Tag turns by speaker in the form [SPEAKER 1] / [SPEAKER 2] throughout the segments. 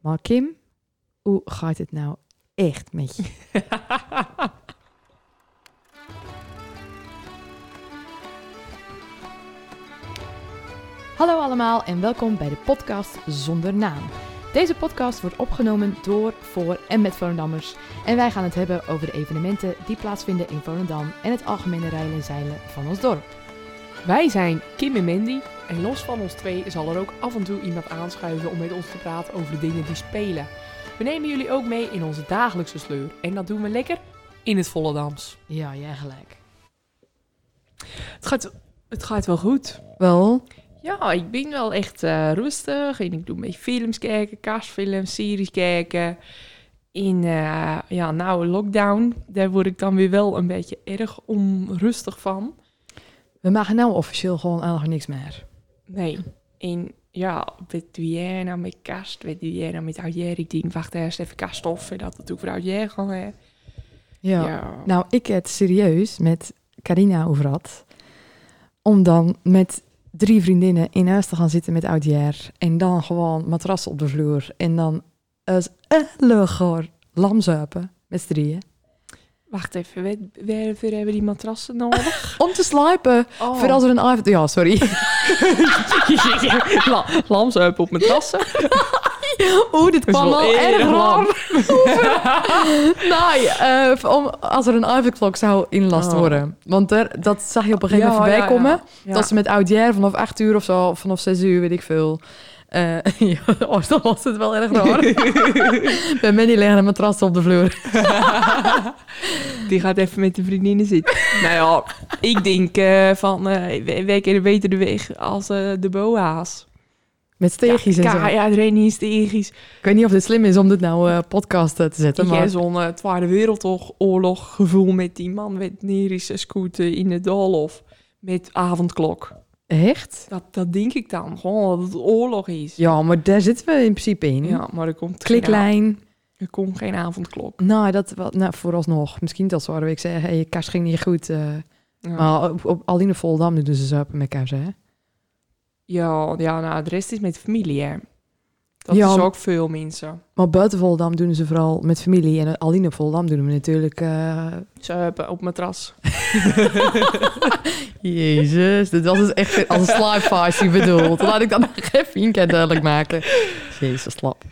[SPEAKER 1] Maar Kim, hoe gaat het nou echt met je? Hallo allemaal en welkom bij de podcast Zonder Naam. Deze podcast wordt opgenomen door, voor en met Volendammers. En wij gaan het hebben over de evenementen die plaatsvinden in Volendam en het algemene rijden en zeilen van ons dorp.
[SPEAKER 2] Wij zijn Kim en Mandy en los van ons twee zal er ook af en toe iemand aanschuiven om met ons te praten over de dingen die spelen. We nemen jullie ook mee in onze dagelijkse sleur en dat doen we lekker in het Volendams.
[SPEAKER 1] Ja, jij gelijk.
[SPEAKER 2] Het gaat, het gaat wel goed.
[SPEAKER 1] Wel,
[SPEAKER 2] Ja, ik ben wel echt eh, rustig en ik doe een beetje films kijken, kastfilms, series kijken. In, eh, ja, nou, lockdown, daar word ik dan weer wel een beetje erg onrustig van.
[SPEAKER 1] we maken nou officieel gewoon eigenlijk niks meer.
[SPEAKER 2] Nee. En ja, wat doe jij nou met kast? Wat doe jij nou met oudjaar? Ik denk, wacht eerst even kast of en dat het ook voor oudjaar gaan. Hè.
[SPEAKER 1] Ja. Nou, ik het serieus met Carina over had. Om dan met drie vriendinnen in huis te gaan zitten met oudjaar. En dan gewoon matras op de vloer. En dan als ellegaar lamzuipen met z'n drieën.
[SPEAKER 2] Wacht even, wat, waarvoor hebben die matrassen nodig?
[SPEAKER 1] Om te slapen.
[SPEAKER 2] Oh.
[SPEAKER 1] Voor als er een avond... Ja, sorry.
[SPEAKER 2] La, lamzuip op matrassen.
[SPEAKER 1] Oeh, dit
[SPEAKER 2] is
[SPEAKER 1] kwam
[SPEAKER 2] wel
[SPEAKER 1] wel erg
[SPEAKER 2] erg
[SPEAKER 1] lam. nee, eh, om, als er een avondklok zou inlast
[SPEAKER 2] Oh.
[SPEAKER 1] worden. Want er, dat zag je op een gegeven moment
[SPEAKER 2] Ja,
[SPEAKER 1] voorbij
[SPEAKER 2] ja,
[SPEAKER 1] komen.
[SPEAKER 2] ja. Ja.
[SPEAKER 1] Dat ze met oudjaar vanaf 8 uur of zo, vanaf 6 uur, weet ik veel. Eh ja, oh, dan was het wel erg raar. Bij Mandy liggen een matras op de vloer.
[SPEAKER 2] Die gaat even met de vriendinnen zitten. nou ja, ik denk eh, van, eh, wij- wij kennen beter de weg als eh, de boa's.
[SPEAKER 1] Met steegjes en zo.
[SPEAKER 2] Ja, ja, iedereen is tegisch.
[SPEAKER 1] Ik weet niet of dit slim is om dit nou eh, podcast eh, te zetten.
[SPEAKER 2] Ik
[SPEAKER 1] Maar
[SPEAKER 2] heb zo'n eh, Tweede Wereldoorlog gevoel met die man met Nerische scooter in de doolhof. Met avondklok.
[SPEAKER 1] echt?
[SPEAKER 2] Dat, dat denk ik dan. Gewoon dat het oorlog is.
[SPEAKER 1] Ja, maar daar zitten we in principe in.
[SPEAKER 2] Ja, maar er komt, Geen,
[SPEAKER 1] Kliklijn.
[SPEAKER 2] a- er komt geen avondklok.
[SPEAKER 1] Nou, dat wel, nou, vooralsnog. Misschien dat zouden we zeggen, hey, je kast ging niet goed. eh.
[SPEAKER 2] Ja.
[SPEAKER 1] Maar op, op, alleen op Volendam doen ze zuipen met kaas, hè?
[SPEAKER 2] ja, ja, nou, de rest is met familie, hè. Dat
[SPEAKER 1] Ja.
[SPEAKER 2] is ook veel mensen.
[SPEAKER 1] Maar buiten Volendam doen ze vooral met familie. En alleen op Volendam doen we natuurlijk... eh,
[SPEAKER 2] Ze hebben op matras.
[SPEAKER 1] Jezus, dit was dus echt als een slaapfase bedoeld. Laat ik dat nog even één keer duidelijk maken. Jezus, slap.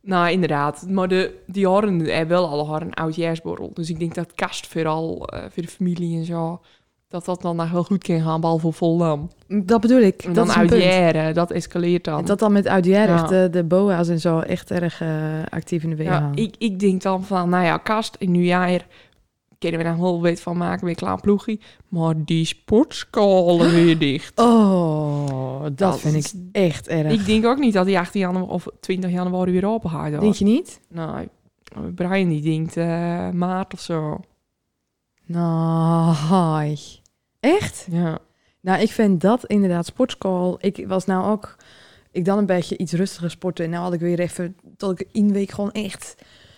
[SPEAKER 2] Nou, inderdaad. Maar de, die hadden hebben wel alle hadden een oudjaarsborrel. Dus ik denk dat kast vooral eh, voor de familie en zo... dat dat dan nog wel goed kan gaan, behalve voor Volendam.
[SPEAKER 1] Dat bedoel ik.
[SPEAKER 2] En
[SPEAKER 1] dat
[SPEAKER 2] dan
[SPEAKER 1] is een punt.
[SPEAKER 2] oudjaren, dat escaleert dan.
[SPEAKER 1] Dat dan met oudjaar
[SPEAKER 2] Ja.
[SPEAKER 1] echt eh, de boa's en zo echt erg eh, actief in de
[SPEAKER 2] ja,
[SPEAKER 1] weergaan.
[SPEAKER 2] ik, ik denk dan van, nou ja, kast in nieuwjaar kunnen we daar wel weet van maken met klaar ploegie. Maar die sportskolen weer dicht.
[SPEAKER 1] Oh, dat
[SPEAKER 2] Dat
[SPEAKER 1] vind
[SPEAKER 2] is-
[SPEAKER 1] ik echt erg.
[SPEAKER 2] Ik denk ook niet dat die 18 januari of 20 januari weer open gaat. hoor.
[SPEAKER 1] Denk je niet?
[SPEAKER 2] Nou, Brian die denkt eh, maart of zo.
[SPEAKER 1] Nou, hi. Echt?
[SPEAKER 2] Ja.
[SPEAKER 1] Nou, ik vind dat inderdaad sportschool. Ik was nou ook... Ik dan een beetje iets rustiger sporten. En nou had ik weer even... Dat ik één week gewoon echt...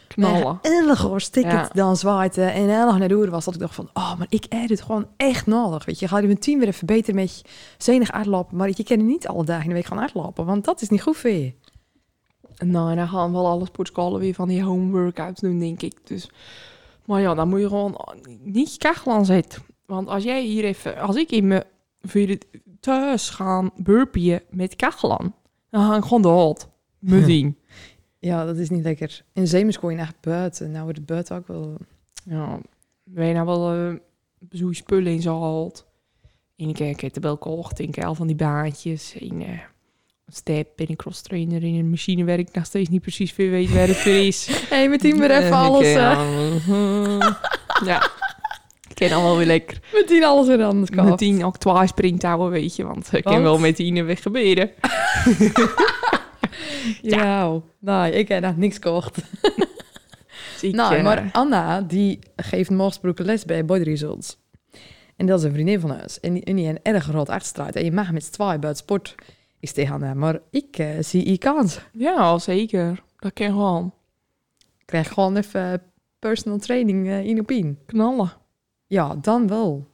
[SPEAKER 2] Knallen.
[SPEAKER 1] erg hoor, stikkend
[SPEAKER 2] Ja.
[SPEAKER 1] dan zwaait. eh, En erg naar de oren was dat ik dacht van... Oh, maar ik heb dit gewoon echt nodig. Weet je, ga je mijn team weer even beter met je zenig uitlopen. Maar je kan niet alle dagen in de week gaan uitlopen. Want dat is niet goed voor je.
[SPEAKER 2] Nou, en dan gaan wel alle sportscholen weer van die home workouts doen, denk ik. Dus, maar ja, dan moet je gewoon niet je kachel aan zetten. Want als jij hier even, als ik in mijn voor het thuis gaan burpieën met kachel aan, dan hang ik gewoon de hot.
[SPEAKER 1] Ja.
[SPEAKER 2] Me ding.
[SPEAKER 1] Ja, dat is niet lekker. En zeemers kon je naar buiten. Nou wordt het buiten ook wel...
[SPEAKER 2] Ja, ben je nou wel eh, zo'n spullen in zo'n hot. En ik kijk het welke ochtend, al van die baantjes. En eh, een step en een cross trainer in een machine waar ik nog steeds niet precies weer weet waar het voor is.
[SPEAKER 1] Hé, hey, mijn team weer even
[SPEAKER 2] Eh,
[SPEAKER 1] alles...
[SPEAKER 2] oké,
[SPEAKER 1] eh,
[SPEAKER 2] ja. ja. Ik ken allemaal weer lekker.
[SPEAKER 1] mijn team alles weer anders
[SPEAKER 2] Met
[SPEAKER 1] kan.
[SPEAKER 2] tien ook twaalf springtouwen, weet je. Want ik
[SPEAKER 1] Want?
[SPEAKER 2] ken wel met tien weg gebeuren.
[SPEAKER 1] Ja. Nou, ik heb nog niks gekocht.
[SPEAKER 2] Dus ik,
[SPEAKER 1] nou,
[SPEAKER 2] eh,
[SPEAKER 1] maar Anna, die geeft morgen les bij Body Results. En dat is een vriendin van ons. En die, en die een erg groot achterstraat. En je mag met z'n tweeën buiten sport, is tegen Anna. Maar ik eh, zie ik kans.
[SPEAKER 2] Ja, zeker. Dat kan gewoon
[SPEAKER 1] Ik krijg gewoon even personal training eh, in op in.
[SPEAKER 2] knallen.
[SPEAKER 1] Ja, dan wel.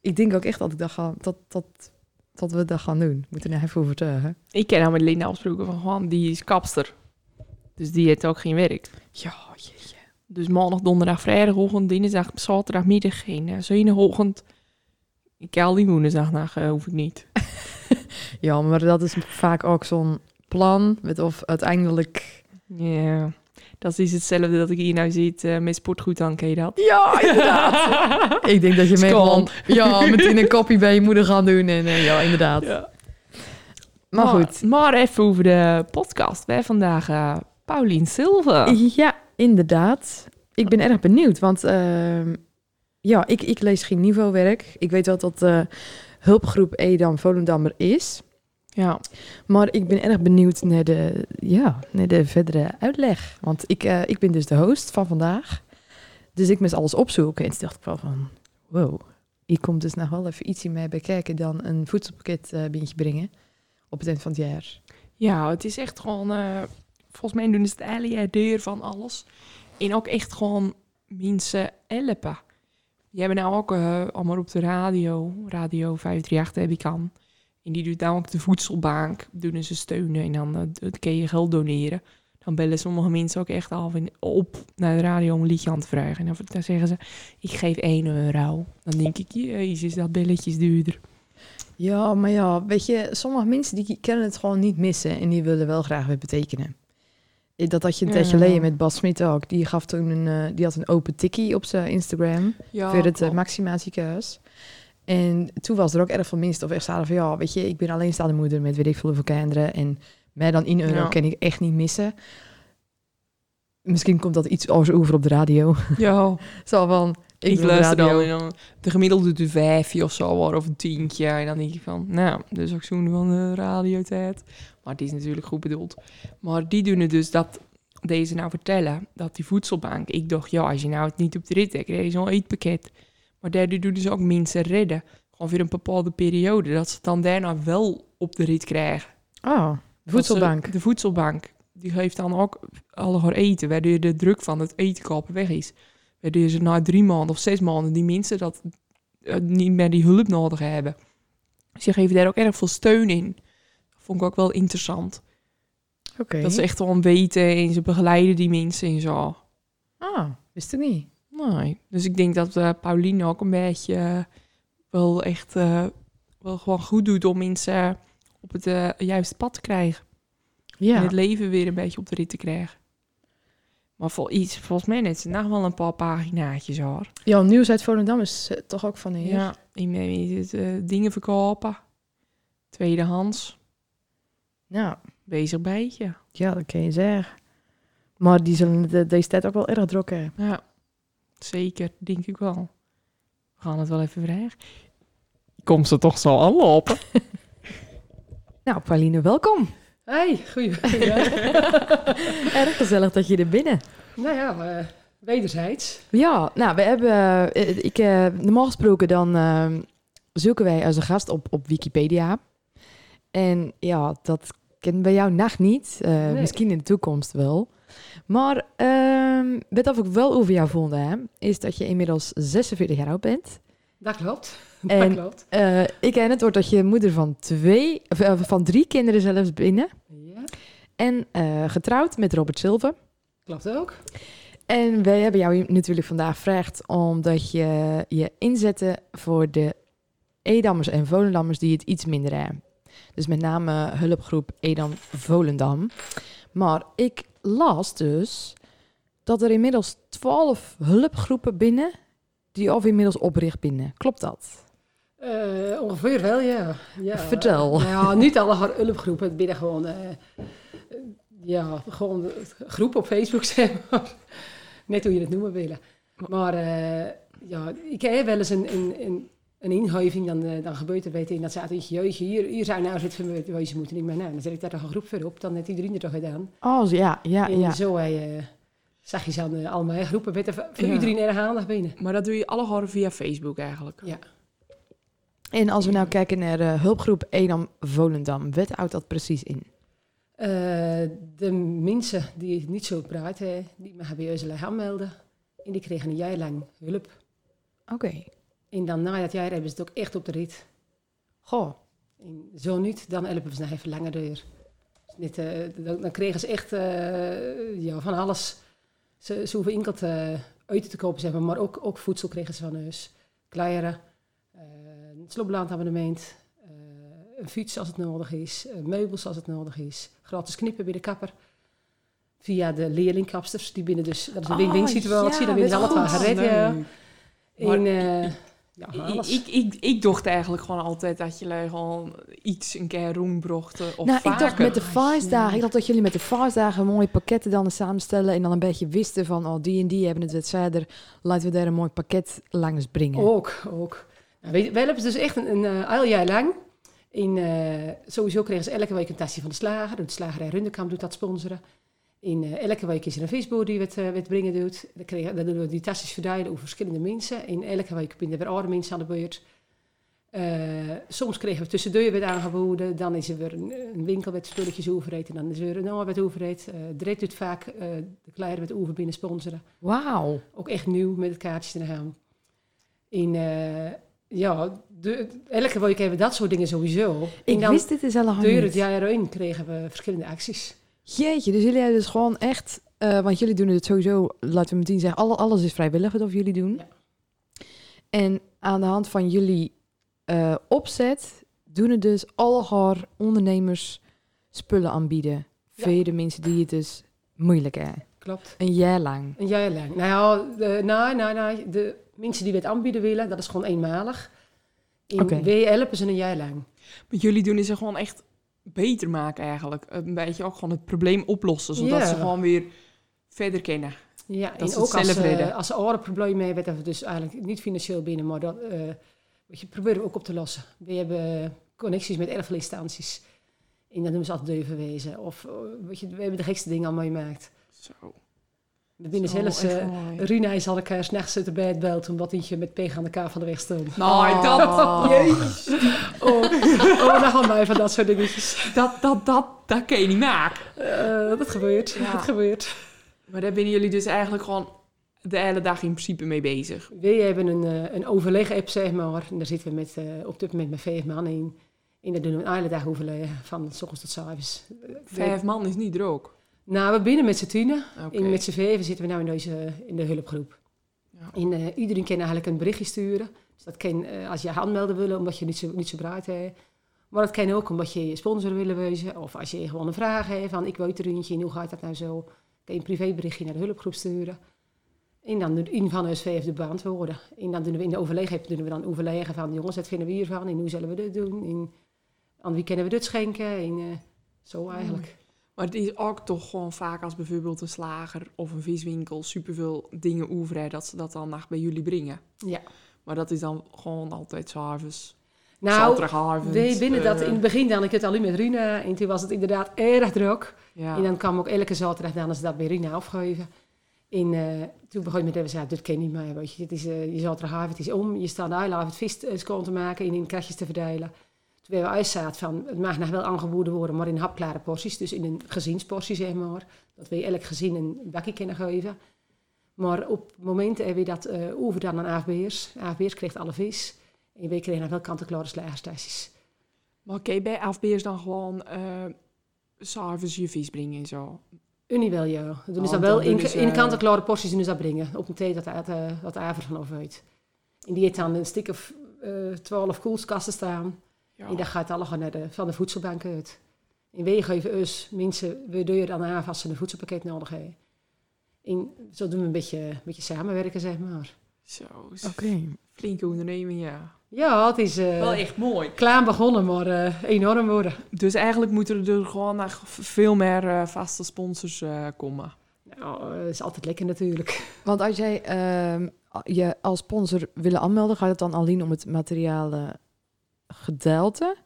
[SPEAKER 1] Ik denk ook echt dat, ik dat, gaan, dat, dat, dat we dat gaan doen. Moeten we er even overtuigen.
[SPEAKER 2] Ik ken nou met Linda afsproken van gewoon, die is kapster. Dus die heeft ook geen werk.
[SPEAKER 1] Ja, jeetje.
[SPEAKER 2] Dus maandag, donderdag, vrijdagochtend, dinsdag, zaterdagmiddag geen uh, zondagochtend. Ik haal die woensdag uh, hoef ik niet.
[SPEAKER 1] Ja, maar dat is vaak ook zo'n plan. Met of uiteindelijk...
[SPEAKER 2] Ja, dat is hetzelfde dat ik hier nou zit eh met sportgoed aan, ken je dat?
[SPEAKER 1] Ja, ik denk dat je mee gewoon...
[SPEAKER 2] Schoon.
[SPEAKER 1] Ja, meteen een kopje bij je moeder gaan doen. En eh, ja, inderdaad.
[SPEAKER 2] Ja.
[SPEAKER 1] Maar goed.
[SPEAKER 2] Maar even over de podcast. Wij vandaag eh Paulien Silva.
[SPEAKER 1] Ja, inderdaad. Ik ben erg benieuwd, want ehm, ja, ik, ik lees geen niveauwerk. Ik weet wel dat de hulpgroep Edam Volendam er is.
[SPEAKER 2] Ja.
[SPEAKER 1] Maar ik ben erg benieuwd naar de, ja, naar de verdere uitleg. Want ik, eh, ik ben dus de host van vandaag. Dus ik moest alles opzoeken. En toen dacht ik wel van, wow. Hier komt dus nog wel even iets in mij bij kijken dan een voedselpakket eh binnetje brengen. Op het eind van het jaar.
[SPEAKER 2] ja, het is echt gewoon... eh, volgens mij doen ze het hele jaar deur van alles. En ook echt gewoon mensen helpen. Die hebben nou ook eh, allemaal op de radio, Radio 538 heb ik aan. En die doet nou ook de voedselbank, doen ze steunen en dan eh, d- kun je geld doneren. Dan bellen sommige mensen ook echt af en op naar de radio om een liedje aan te vragen. En dan, dan zeggen ze, ik geef 1 euro. Dan denk ik, jezus, dat belletje is duurder.
[SPEAKER 1] Ja, maar ja, weet je, sommige mensen die kennen het gewoon niet missen en die willen wel graag weer betekenen. Eh, Dat had je een
[SPEAKER 2] Ja.
[SPEAKER 1] tijdje geleden met Bas Smit ook. Die gaf toen een, eh, die had een open tikkie op zijn Instagram
[SPEAKER 2] Ja,
[SPEAKER 1] voor het uh, Maxima ziekenhuis. En toen was er ook erg veel mensen of echt zaten van ja, weet je, ik ben alleenstaande moeder met weet ik veel hoeveel kinderen en mij dan in euro
[SPEAKER 2] Ja.
[SPEAKER 1] kan ik echt niet missen. Misschien komt dat iets over op de radio.
[SPEAKER 2] ja.
[SPEAKER 1] Zo van, ik,
[SPEAKER 2] Ik,
[SPEAKER 1] wil de
[SPEAKER 2] luister
[SPEAKER 1] radio.
[SPEAKER 2] dan, en dan de gemiddelde doet een vijfje of zo, hoor, of een tientje. En dan denk je van, nou, dat is ook zoen van de radiotijd. Maar het is natuurlijk goed bedoeld. Maar die doen het dus dat deze nou vertellen, dat die voedselbank... Ik dacht, ja, als je nou het niet op de rit hebt, krijg je zo'n eetpakket. Maar daardoor doen ze ook mensen redden. Gewoon weer een bepaalde periode, dat ze het dan daarna wel op de rit krijgen.
[SPEAKER 1] Oh,
[SPEAKER 2] Dat ze-
[SPEAKER 1] voedselbank.
[SPEAKER 2] De voedselbank. Die geeft dan ook allemaal eten, waardoor de druk van het eten kopen weg is. Waardoor ze na drie maanden of zes maanden die mensen dat eh, niet meer die hulp nodig hebben. Dus die geven daar ook erg veel steun in. Vond ik ook wel interessant.
[SPEAKER 1] Oké.
[SPEAKER 2] Dat ze echt wel weten en ze begeleiden die mensen en zo.
[SPEAKER 1] Ah, wist ik niet.
[SPEAKER 2] Nee. Dus ik denk dat eh Pauline ook een beetje eh, wel echt eh, wel gewoon goed doet om mensen op het eh, juiste pad te krijgen.
[SPEAKER 1] Ja.
[SPEAKER 2] en het leven weer een beetje op de rit te krijgen. Maar vol iets, volgens mij net nog wel een paar paginaatjes hoor.
[SPEAKER 1] Ja, nieuws uit Volendam is eh, toch ook van hier.
[SPEAKER 2] Ja, ik meen het, eh, dingen verkopen, tweedehands,
[SPEAKER 1] Nou,
[SPEAKER 2] bezig bijtje.
[SPEAKER 1] ja, dat kan je zeggen. Maar die zullen de, deze tijd ook wel erg druk hebben.
[SPEAKER 2] Ja, zeker, denk ik wel. We gaan het wel even vragen. Komt ze toch zo aanlopen?
[SPEAKER 1] Nou, Pauline, welkom.
[SPEAKER 3] Hey, goeie. ja.
[SPEAKER 1] Erg gezellig dat je er binnen.
[SPEAKER 3] nou ja, eh, wederzijds.
[SPEAKER 1] Ja, nou, we hebben... eh, ik, eh, normaal gesproken dan eh, zoeken wij als een gast op, op Wikipedia. En ja, dat kennen bij jou nog niet. Eh,
[SPEAKER 3] Nee.
[SPEAKER 1] Misschien in de toekomst wel. Maar ehm wat of ik wel over jou vond, hè, is dat je inmiddels 46 jaar oud bent.
[SPEAKER 3] Dat klopt.
[SPEAKER 1] En-
[SPEAKER 3] Dat klopt.
[SPEAKER 1] Eh, ik ken het woord dat je moeder van twee, of, eh, van drie kinderen zelfs binnen.
[SPEAKER 3] Ja,
[SPEAKER 1] En eh, getrouwd met Robert Silver.
[SPEAKER 3] klopt ook.
[SPEAKER 1] En wij hebben jou natuurlijk vandaag gevraagd omdat je je inzette voor de Edammers en Volendammers die het iets minder hebben. Dus met name hulpgroep Edam Volendam. Maar ik las dus dat er inmiddels twaalf hulpgroepen binnen die of inmiddels opricht binnen. Klopt dat?
[SPEAKER 3] Eh, ongeveer wel, ja. ja.
[SPEAKER 1] Vertel.
[SPEAKER 3] Nou Ja, niet alle haar hulpgroepen. Het binnen gewoon, eh, eh, ja, gewoon groep op Facebook, zeg maar. Net hoe je het noemen wil. Maar eh, ja, ik heb wel eens een, een, een, een ingeving, dan, eh, dan gebeurt er weet ik, dat ze uit jeugdje, hier, hier zijn nou zit van, we- ze moeten niet meer naar. Dan zet ik daar toch een groep voor op, dan heeft iedereen er toch gedaan.
[SPEAKER 1] Oh ja, ja,
[SPEAKER 3] En
[SPEAKER 1] ja.
[SPEAKER 3] zo eh, zag je ze aan eh, allemaal hè, groepen met voor
[SPEAKER 2] Ja.
[SPEAKER 3] iedereen erg aandacht binnen.
[SPEAKER 2] Maar dat doe je alle via Facebook eigenlijk.
[SPEAKER 3] Ja.
[SPEAKER 1] En als we nou kijken naar eh, hulpgroep Edam Volendam, wat houdt dat precies in?
[SPEAKER 3] Eh, de mensen die het niet zo praten, die mogen bij ons aanmelden. En die kregen een jaar lang hulp.
[SPEAKER 1] Oké.
[SPEAKER 3] En dan na dat jaar hebben ze het ook echt op de rit.
[SPEAKER 1] Goh.
[SPEAKER 3] En zo niet, dan helpen we ze nog even langer door. Dus Net, eh, dan, dan kregen ze echt eh, ja, van alles. Ze, ze hoeven enkel eh uit te kopen, zeg maar. Maar ook, ook voedsel kregen ze van huis. Kleren, eh, een sloopblaadabonnement, eh, een fiets als het nodig is, eh, meubels als het nodig is. Gratis knippen bij de kapper. Via de leerlingkapsters, die binnen dus... Dat is een win-win situatie, dan winnen ze alle
[SPEAKER 2] Ah,
[SPEAKER 3] twee gered. ja.
[SPEAKER 2] Maar
[SPEAKER 3] En, eh, ja,
[SPEAKER 1] Ah,
[SPEAKER 3] van
[SPEAKER 2] Ik,
[SPEAKER 3] alles.
[SPEAKER 2] ik, ik, ik dacht eigenlijk gewoon altijd dat jullie gewoon iets een keer roem brochten. Of
[SPEAKER 1] nou,
[SPEAKER 2] vaker.
[SPEAKER 1] ik dacht met de
[SPEAKER 3] Ah,
[SPEAKER 1] feestdagen.
[SPEAKER 3] ja.
[SPEAKER 1] Ik dacht dat jullie met de feestdagen mooie pakketten dan samenstellen. En dan een beetje wisten van, oh, die en die hebben het wat verder. Laten we daar een mooi pakket langs brengen.
[SPEAKER 3] Ook, ook. Nou, weet je, wij hebben dus echt een, een eh, heel jaar lang. In, eh, sowieso kregen ze elke week een tasje van de slager. De slagerij Rundekamp doet dat sponsoren. In, eh, elke week is er een visboer die het, eh, het brengen doet. Dan, kregen, dan doen we die tasjes verdelen over verschillende mensen. In elke week binnen weer andere mensen aan de beurt. Eh, soms kregen we tussendoor weer aangeboden. Dan is er weer een, een winkel met spulletjes overheid. En dan is er weer een ander met overheid. Eh Dreed doet vaak eh, de kleren met over binnen sponsoren
[SPEAKER 1] Wauw.
[SPEAKER 3] ook echt nieuw met het kaartje te gaan. In, eh, ja, de, elke week hebben we dat soort dingen sowieso. en
[SPEAKER 1] Ik
[SPEAKER 3] dan
[SPEAKER 1] wist dit is al lang
[SPEAKER 3] door het
[SPEAKER 1] niet.
[SPEAKER 3] jaar heen kregen we verschillende acties.
[SPEAKER 1] Jeetje, dus jullie hebben dus gewoon echt... eh, want jullie doen het sowieso, laten we meteen zeggen... Alle, alles is vrijwillig wat jullie doen.
[SPEAKER 3] Ja.
[SPEAKER 1] En aan de hand van jullie eh, opzet... doen het dus al haar ondernemers spullen aanbieden.
[SPEAKER 3] Ja.
[SPEAKER 1] Voor de mensen die het dus moeilijk hebben.
[SPEAKER 3] Klopt.
[SPEAKER 1] Een jaar lang.
[SPEAKER 3] Een jaar lang. Nou ja, de, nou, nou, nou, de mensen die we het aanbieden willen, dat is gewoon eenmalig. In
[SPEAKER 1] Oké.
[SPEAKER 3] we helpen ze een jaar lang.
[SPEAKER 2] Maar jullie doen is ze gewoon echt beter maken eigenlijk. Een beetje ook gewoon het probleem oplossen. Zodat
[SPEAKER 3] Ja.
[SPEAKER 2] ze gewoon weer verder kennen.
[SPEAKER 3] Ja,
[SPEAKER 2] Dat
[SPEAKER 3] en
[SPEAKER 2] ze het
[SPEAKER 3] ook als,
[SPEAKER 2] zelf
[SPEAKER 3] eh,
[SPEAKER 2] redden.
[SPEAKER 3] als ze andere problemen hebben, dat we dus eigenlijk niet financieel binnen, maar dat eh, weet je, proberen we ook op te lossen. We hebben eh, connecties met erfeninstanties. En dan doen ze altijd durven wezen. Of eh, weet je, we hebben de gekste dingen allemaal gemaakt.
[SPEAKER 2] Zo.
[SPEAKER 3] We binnen
[SPEAKER 2] Zo,
[SPEAKER 3] zelfs.
[SPEAKER 2] echt
[SPEAKER 3] eh,
[SPEAKER 2] mooi.
[SPEAKER 3] Rina is al elkaar s'nachts uit de bed belt omdat hij met peg aan de kaaf van de weg stond.
[SPEAKER 2] Nou, dat, jezus,
[SPEAKER 3] Oh, oh dan gaan wij van dat soort dingetjes.
[SPEAKER 2] dat, dat, dat, dat kan je niet maken.
[SPEAKER 3] Eh, dat gebeurt,
[SPEAKER 2] Ja.
[SPEAKER 3] dat gebeurt.
[SPEAKER 2] Maar daar zijn jullie dus eigenlijk gewoon de hele dag in principe mee bezig.
[SPEAKER 3] We hebben een, eh, een overleg-app, zeg maar. En daar zitten we met, eh, op dit moment met vijf man in. En daar doen we een hele dag overleg van s ochtends tot s avonds.
[SPEAKER 2] Vijf man is niet droog.
[SPEAKER 3] Nou, we binnen met z'n tienen.
[SPEAKER 2] Oké.
[SPEAKER 3] En met z'n vijven zitten we nu in, deze, in de hulpgroep.
[SPEAKER 2] Ja.
[SPEAKER 3] En eh, iedereen kan eigenlijk een berichtje sturen. Dus dat kan eh, als je aanmelden wil, omdat je niet zo, niet zo braad hebt. Maar dat kan ook omdat je je sponsor wil wezen. Of als je gewoon een vraag hebt van ik weet er eentje en hoe gaat dat nou zo. Kan je een privéberichtje naar de hulpgroep sturen. En dan doet een van ons vijf de beantwoorden. En dan doen we in de overleg doen we dan overleggen van jongens, wat vinden we hiervan? En hoe zullen we dit doen? En aan wie kunnen we dit schenken? En eh,
[SPEAKER 2] Mm.
[SPEAKER 3] zo eigenlijk.
[SPEAKER 2] Maar het is ook toch gewoon vaak als bijvoorbeeld een slager of een viswinkel superveel dingen oeveren, dat ze dat dan nacht bij jullie brengen.
[SPEAKER 3] Ja.
[SPEAKER 2] Maar dat is dan gewoon altijd s'avonds,
[SPEAKER 3] Nou,
[SPEAKER 2] zaterdagavond.
[SPEAKER 3] we binnen dat
[SPEAKER 2] eh,
[SPEAKER 3] in het begin dan ik het alleen met Rina. En toen was het inderdaad erg druk.
[SPEAKER 2] Ja.
[SPEAKER 3] En dan kwam ook elke zaterdag dan als ze dat bij Rina afgeven. En eh, toen begon ik met hem zei, dit ken je niet meer. Weet je, dit is, eh, je zaterdagavond is om. Je staat daar avond vis eh, schoon te maken en in kratjes te verdelen. Toen hebben we uitzaad van, het mag nog wel aangeboden worden, maar in hapklare porties. Dus in een gezinsportie, zeg maar. Dat we elk gezin een bakje kunnen geven. Maar op het moment hebben we dat eh, over dan aan AFB'ers. AFB'ers kreeg alle vis. En we kregen nog wel kant-en-klare slagerstasjes.
[SPEAKER 2] Maar oké, bij afbeers dan gewoon eh s'avonds je vis brengen en zo.
[SPEAKER 3] Unie wel, ja. Doen
[SPEAKER 2] Want
[SPEAKER 3] is dat wel
[SPEAKER 2] Oh, dan eh, doen
[SPEAKER 3] in,
[SPEAKER 2] ze-
[SPEAKER 3] in kant-en-klare porties doen ze dat brengen. Op een thee dat, uit, eh, dat aver vanaf uit. En die heeft dan een stuk of eh, twaalf koelkasten staan.
[SPEAKER 2] Ja.
[SPEAKER 3] En dat gaat allemaal naar de, van de voedselbank uit. En wij geven us mensen, we doen dan aan als ze een voedselpakket nodig hebben. En zo doen we een beetje, een beetje samenwerken, zeg maar.
[SPEAKER 2] Zo, is flinke onderneming, ja.
[SPEAKER 3] Ja, het is eh,
[SPEAKER 2] Wel echt mooi.
[SPEAKER 3] klein begonnen, maar eh, enorm worden.
[SPEAKER 2] Dus eigenlijk moeten er gewoon nog veel meer eh, vaste sponsors eh, komen.
[SPEAKER 3] Nou, eh, is altijd lekker natuurlijk.
[SPEAKER 1] Want als jij ehm, je als sponsor willen aanmelden, gaat het dan alleen om het materiale gedeelte?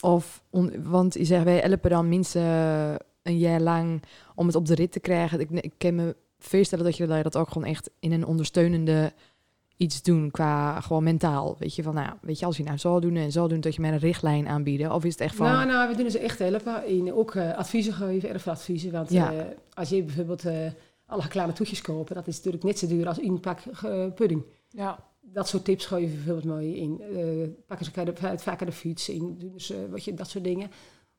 [SPEAKER 1] Of on- want je zegt, wij helpen dan mensen een jaar lang om het op de rit te krijgen. Ik, ik kan me voorstellen dat jullie dat ook gewoon echt in een ondersteunende iets doen qua gewoon mentaal. Weet je, van nou, weet je, als je nou zo doen en zo doen, dat je mij een richtlijn aanbieden. Of is het echt van,
[SPEAKER 3] Nou, nou, we doen ze echt helpen. En ook eh, adviezen geven, erg veel adviezen. Want
[SPEAKER 1] Ja.
[SPEAKER 3] eh, als je bijvoorbeeld eh, alle kleine toetjes kopen, dat is natuurlijk net zo duur als één pak eh, pudding.
[SPEAKER 2] Ja,
[SPEAKER 3] Dat soort tips geven we bijvoorbeeld mooi in. eh pakken ze elkaar de, vaak aan de fiets in, doen ze, wat je, eh, dat soort dingen.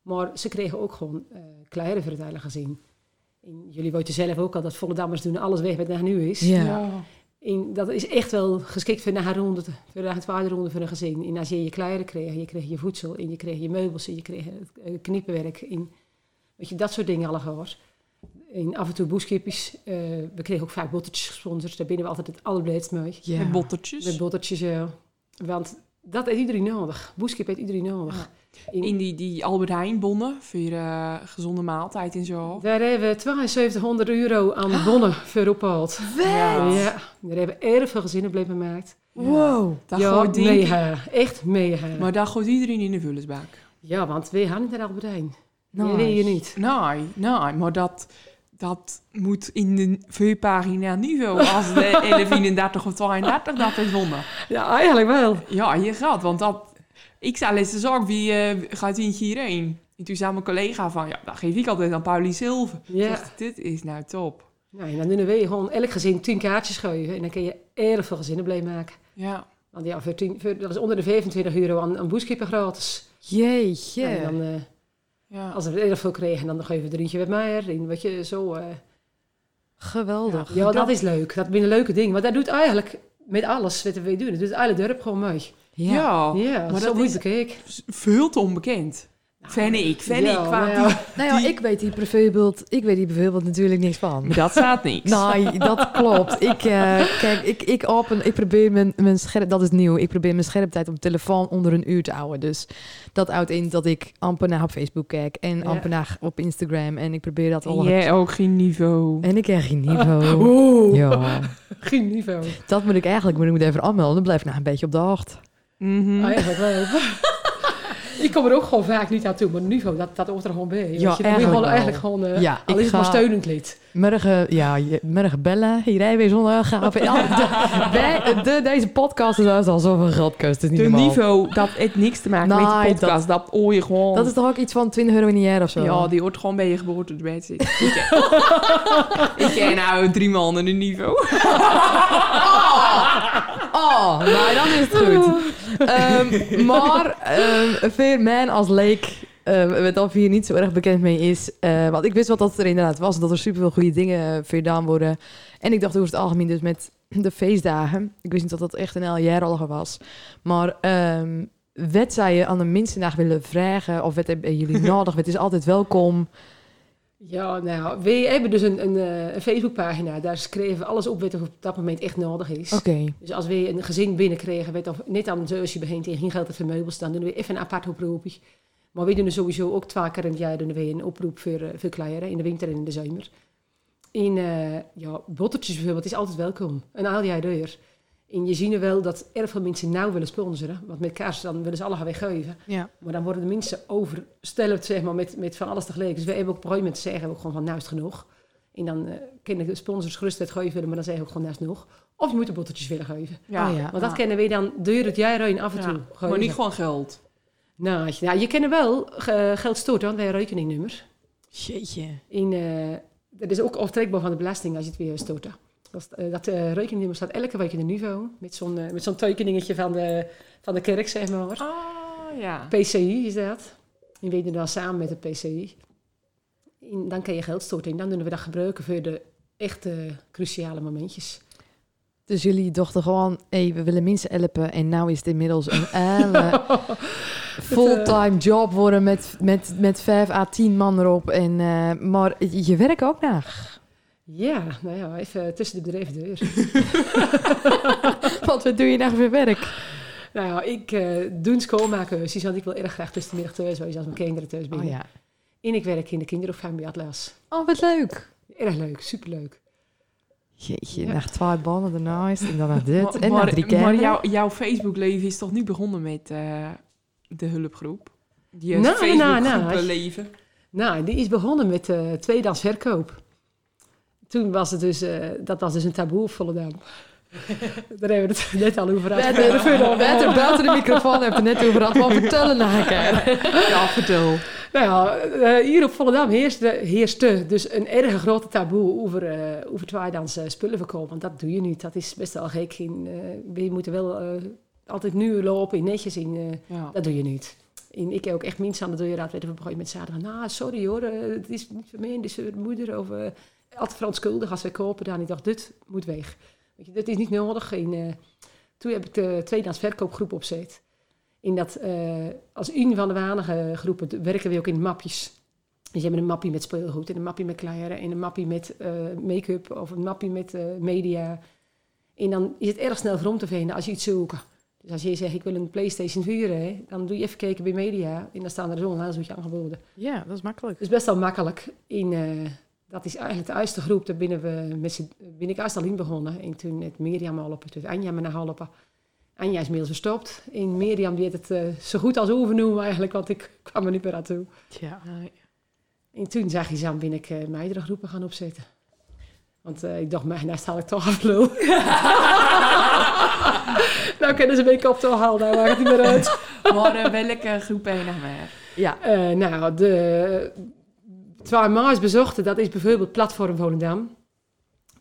[SPEAKER 3] Maar ze kregen ook gewoon eh kleren voor het hele gezin. En jullie weten zelf ook al dat Vollendammers doen alles weg wat naar nu is.
[SPEAKER 1] Ja.
[SPEAKER 3] En dat is echt wel geschikt voor na een ronde, voor na een tweede ronde van een gezin. En als je je kleren kreeg, je kreeg je voedsel en je kreeg je meubels en je kreeg het eh, knippenwerk. En weet je, dat soort dingen allemaal. En af en toe boeskipjes. Eh, we kregen ook vaak bottertjes gesponsord. Daar binnen we altijd het allerblijst mee.
[SPEAKER 1] Ja.
[SPEAKER 2] Met bottertjes.
[SPEAKER 3] Met bottertjes, ja. Want dat heeft iedereen nodig. Boeskip heeft iedereen nodig. En
[SPEAKER 2] In die, die Albert Heijn bonnen voor eh, gezonde maaltijd en zo.
[SPEAKER 3] Daar hebben we 7200 euro aan bonnen voor opgehaald.
[SPEAKER 2] Ja.
[SPEAKER 3] Ja, daar hebben we erg veel gezinnen blij gemaakt.
[SPEAKER 1] Wow.
[SPEAKER 2] Dat
[SPEAKER 3] ja,
[SPEAKER 2] gooit denk ik-
[SPEAKER 3] mega. Echt mega.
[SPEAKER 2] Maar daar gooit iedereen in de vullersbak.
[SPEAKER 3] Ja, want we hadden het er al bedijn.
[SPEAKER 1] Nice.
[SPEAKER 3] Dat weet je niet.
[SPEAKER 2] Nee, nee, maar dat, dat moet in de vuurpagina niveau. Als de 1131 of 32 dat is wonnen.
[SPEAKER 3] Ja, eigenlijk wel.
[SPEAKER 2] Ja, je gaat, want dat... Ik zei laatst ook, wie eh, gaat eentje hierheen? En toen zei mijn collega van, ja, dat geef ik altijd aan Paulie Silver.
[SPEAKER 3] Ja.
[SPEAKER 2] Zegt, dit is nou top.
[SPEAKER 3] Nou, en dan doen we gewoon elk gezin 10 kaartjes schuiven. En dan kun je erg veel gezinnen blij maken.
[SPEAKER 2] Ja,
[SPEAKER 3] Want ja, voor 10 voor- dat is onder de 25 euro aan, aan boeskippen gratis.
[SPEAKER 1] Jeetje.
[SPEAKER 3] En dan, eh,
[SPEAKER 2] ja.
[SPEAKER 3] als we erg veel kregen, dan geven we er eentje met mij erin. Wat je zo... eh,
[SPEAKER 1] Geweldig.
[SPEAKER 3] Ja, dat is leuk. Dat zijn leuke dingen. Want dat doet eigenlijk met alles wat we doen. Dat doet het hele dorp gewoon mee.
[SPEAKER 1] Ja.
[SPEAKER 2] ja. Oh.
[SPEAKER 3] ja,
[SPEAKER 2] maar
[SPEAKER 3] maar
[SPEAKER 2] dat
[SPEAKER 3] dat
[SPEAKER 2] is-
[SPEAKER 3] moet ik.
[SPEAKER 2] veel te onbekend. Vind ik, vind
[SPEAKER 3] Ja,
[SPEAKER 2] ik. Qua
[SPEAKER 3] maar ja.
[SPEAKER 2] die-
[SPEAKER 1] Nou ja,
[SPEAKER 2] Die-
[SPEAKER 1] ik weet die bijvoorbeeld, ik weet die bijvoorbeeld natuurlijk niks van.
[SPEAKER 2] Maar dat staat niks.
[SPEAKER 1] Nee, dat klopt. Ik, eh, kijk, ik, ik, open, ik probeer mijn, mijn scherp... Dat is nieuw. Ik probeer mijn scherptijd op telefoon onder een uur te houden. Dus dat houdt in dat ik amper naar op Facebook kijk. En
[SPEAKER 3] Ja.
[SPEAKER 1] amper naar op Instagram. En ik probeer dat
[SPEAKER 2] En
[SPEAKER 1] al...
[SPEAKER 2] jij ook geen niveau.
[SPEAKER 1] En ik krijg geen niveau.
[SPEAKER 3] Oeh,
[SPEAKER 1] Ja,
[SPEAKER 3] geen niveau.
[SPEAKER 1] dat moet ik eigenlijk moet ik me even aanmelden. Dan blijf ik nog een beetje op de hoogte. Mm.
[SPEAKER 2] Mhm.
[SPEAKER 3] Eigenlijk Ah, wel. ik kom er ook gewoon vaak niet aan toe. Maar niveau, dat, dat hoort er gewoon bij. Weet je, dat moet je
[SPEAKER 1] eigenlijk
[SPEAKER 3] gewoon,
[SPEAKER 1] wel.
[SPEAKER 3] eigenlijk gewoon... eh,
[SPEAKER 1] Ja,
[SPEAKER 3] al
[SPEAKER 1] ik
[SPEAKER 3] is het maar
[SPEAKER 1] ga-
[SPEAKER 3] steunend lid.
[SPEAKER 1] Morgen, ja, je- morgen bellen. Hier rijden weer zonder gaven. Ja, de- de- de- Deze podcast is al zoveel geld. niet
[SPEAKER 2] De
[SPEAKER 1] normaal.
[SPEAKER 2] niveau, dat heeft niks te maken met
[SPEAKER 1] Nee,
[SPEAKER 2] de podcast. Dat, hoor je gewoon.
[SPEAKER 1] Dat is toch ook iets van 20 euro in een jaar of zo?
[SPEAKER 2] Ja, die hoort gewoon bij je geboorte erbij te zitten. Ik ken- Ik ken nou drie mannen een niveau.
[SPEAKER 1] Oh, nou dan is het goed. Ehm, maar ehm Veer Man als leek, ehm, wat dan hier niet zo erg bekend mee is. eh, want ik wist wel dat het er inderdaad was. en Dat er superveel goede dingen verdaan worden. En ik dacht over het algemeen dus met de feestdagen. Ik wist niet dat dat echt een heel jaar al was. Maar ehm wat zou je aan de mensen naar willen vragen? Of wat hebben jullie nodig? Het is altijd welkom.
[SPEAKER 3] Ja, nou, we hebben dus een, een, eh, een Facebookpagina. Daar schreven we alles op wat er op dat moment echt nodig is.
[SPEAKER 1] Oké.
[SPEAKER 3] Dus als we een gezin binnenkregen, werd of net aan de zusje begint en geen geld te vermeubels, dan doen we even een apart oproepje. Maar we doen er sowieso ook twee keer in het jaar doen we een oproep voor, eh, voor kleineren, in de winter en in de zomer. En eh, ja, bottertjes bijvoorbeeld is altijd welkom. Een al jaar deur. En je ziet wel dat erg veel mensen nou willen sponsoren. Want met kaars dan willen ze alle gaan weggeven.
[SPEAKER 1] Ja.
[SPEAKER 3] Maar dan worden de mensen overstellend zeg maar, met, met van alles tegelijk. Dus we hebben ook op een gegeven moment zeggen we ook gewoon van nou is het genoeg. En dan eh kunnen de sponsors gerust het geven willen, maar dan zeggen we ook gewoon nou is het genoeg. Of je moet de bottertjes willen geven.
[SPEAKER 1] Oh ja.
[SPEAKER 3] Maar dat kennen we dan deur het jaar in af en
[SPEAKER 2] Ja.
[SPEAKER 3] toe.
[SPEAKER 2] Maar niet gewoon geld.
[SPEAKER 3] Nou, als je- nou, je kent wel eh, geld storten, want wij hebben een rekeningnummer.
[SPEAKER 1] Jeetje.
[SPEAKER 3] En, eh, dat is ook aftrekbaar van de belasting als je het weer stort. Dat, eh, dat eh, rekeningnummer staat elke week in de niveau. Met zo'n eh, met zo'n tekeningetje van de, van de kerk, zeg maar.
[SPEAKER 2] Ah, ja.
[SPEAKER 3] PCI is dat. En we doen dat samen met de PCI. En dan kan je geld storten. En dan doen we dat gebruiken voor de echte cruciale momentjes.
[SPEAKER 1] Dus jullie dachten gewoon, hé, we willen mensen helpen. En nou is het inmiddels een hele fulltime job worden met, met, met 5 à 10 man erop. En, eh, maar je je werkt ook naar.
[SPEAKER 3] Ja, nou ja, even tussen de bedrijven deur.
[SPEAKER 1] Want wat doe je nou voor werk?
[SPEAKER 3] Nou ja, ik eh, doe schoonmaken. Suzanne, ik wil erg graag tussen de middag thuis wezen als mijn kinderen thuis
[SPEAKER 1] Oh
[SPEAKER 3] binnen.
[SPEAKER 1] ja.
[SPEAKER 3] En ik werk in de kinderopvang bij Atlas.
[SPEAKER 1] Oh, wat leuk.
[SPEAKER 3] Erg leuk, superleuk.
[SPEAKER 1] Jeetje,
[SPEAKER 3] Ja.
[SPEAKER 1] naar twee ballen daarnaast en dan naar dit
[SPEAKER 2] Maar-
[SPEAKER 1] en naar
[SPEAKER 2] maar,
[SPEAKER 1] drie
[SPEAKER 2] maar
[SPEAKER 1] kinderen.
[SPEAKER 2] jouw, jouw Facebook-leven is toch niet begonnen met eh, de hulpgroep? Je
[SPEAKER 3] Nou, nou, nou.
[SPEAKER 2] Facebook-groepenleven.
[SPEAKER 3] Nou, die is begonnen met eh tweedehands verkoop. Toen was het dus, eh, dat was dus een taboe op Volendam. Daar hebben we het net al over
[SPEAKER 1] We
[SPEAKER 3] gehad.
[SPEAKER 1] hadden- we hadden buiten de microfoon heb je net over gehad. Wat vertellen naar elkaar.
[SPEAKER 2] Ja, vertel.
[SPEAKER 3] Nou ja, eh, hier op Volendam heerste, heerste dus een erg grote taboe over, eh over tweedehands eh, spullen verkopen. Want dat doe je niet, dat is best wel gek. En, eh, we moeten wel eh, altijd nu lopen, netjes in... eh,
[SPEAKER 2] Ja.
[SPEAKER 3] Dat doe je niet. En ik heb ook echt mensen aan de deurraad weten op een gegeven moment zaten van, nou, sorry hoor, eh, het is niet voor mij, het is voor de moeder. Of eh altijd verontschuldigd als wij kopen dan. Ik dacht, dit moet weg. Weet je, dit is niet nodig. En, eh, toen heb ik de tweedehands verkoopgroep opzet. In dat, eh, als een van de weinige groepen werken we ook in mapjes. Dus je hebt een mapje met speelgoed en een mapje met kleren en een mapje met eh, make-up of een mapje met eh, media. En dan is het erg snel grond te vinden als je iets zoekt. Dus als je zegt, ik wil een Playstation 4, hè, dan doe je even kijken bij media en dan staan er zo'n aanzoek aangeboden.
[SPEAKER 1] Ja, dat is makkelijk.
[SPEAKER 3] Dus best wel makkelijk. In, eh, dat is eigenlijk de eerste groep, daar binnen we met z'n- ben ik eerst al in begonnen. En toen het Mirjam al op, toen Anja me naar helpen. Anja is inmiddels verstopt. En Mirjam die had het eh, zo goed als overnoemen eigenlijk, want ik kwam er niet meer aan toe.
[SPEAKER 1] Ja.
[SPEAKER 3] En toen zag je Sam, ben ik eh, meerdere groepen gaan opzetten. Want eh, ik dacht, mij, nou sta ik toch af lul. nou kunnen ze mijn op toch halen, nou maakt het niet meer uit.
[SPEAKER 4] Maar eh, welke groep ben je
[SPEAKER 2] nou
[SPEAKER 4] nog meer?
[SPEAKER 1] Ja.
[SPEAKER 3] Eh, nou, de Twaar Maas bezochten, dat is bijvoorbeeld Platform Volendam.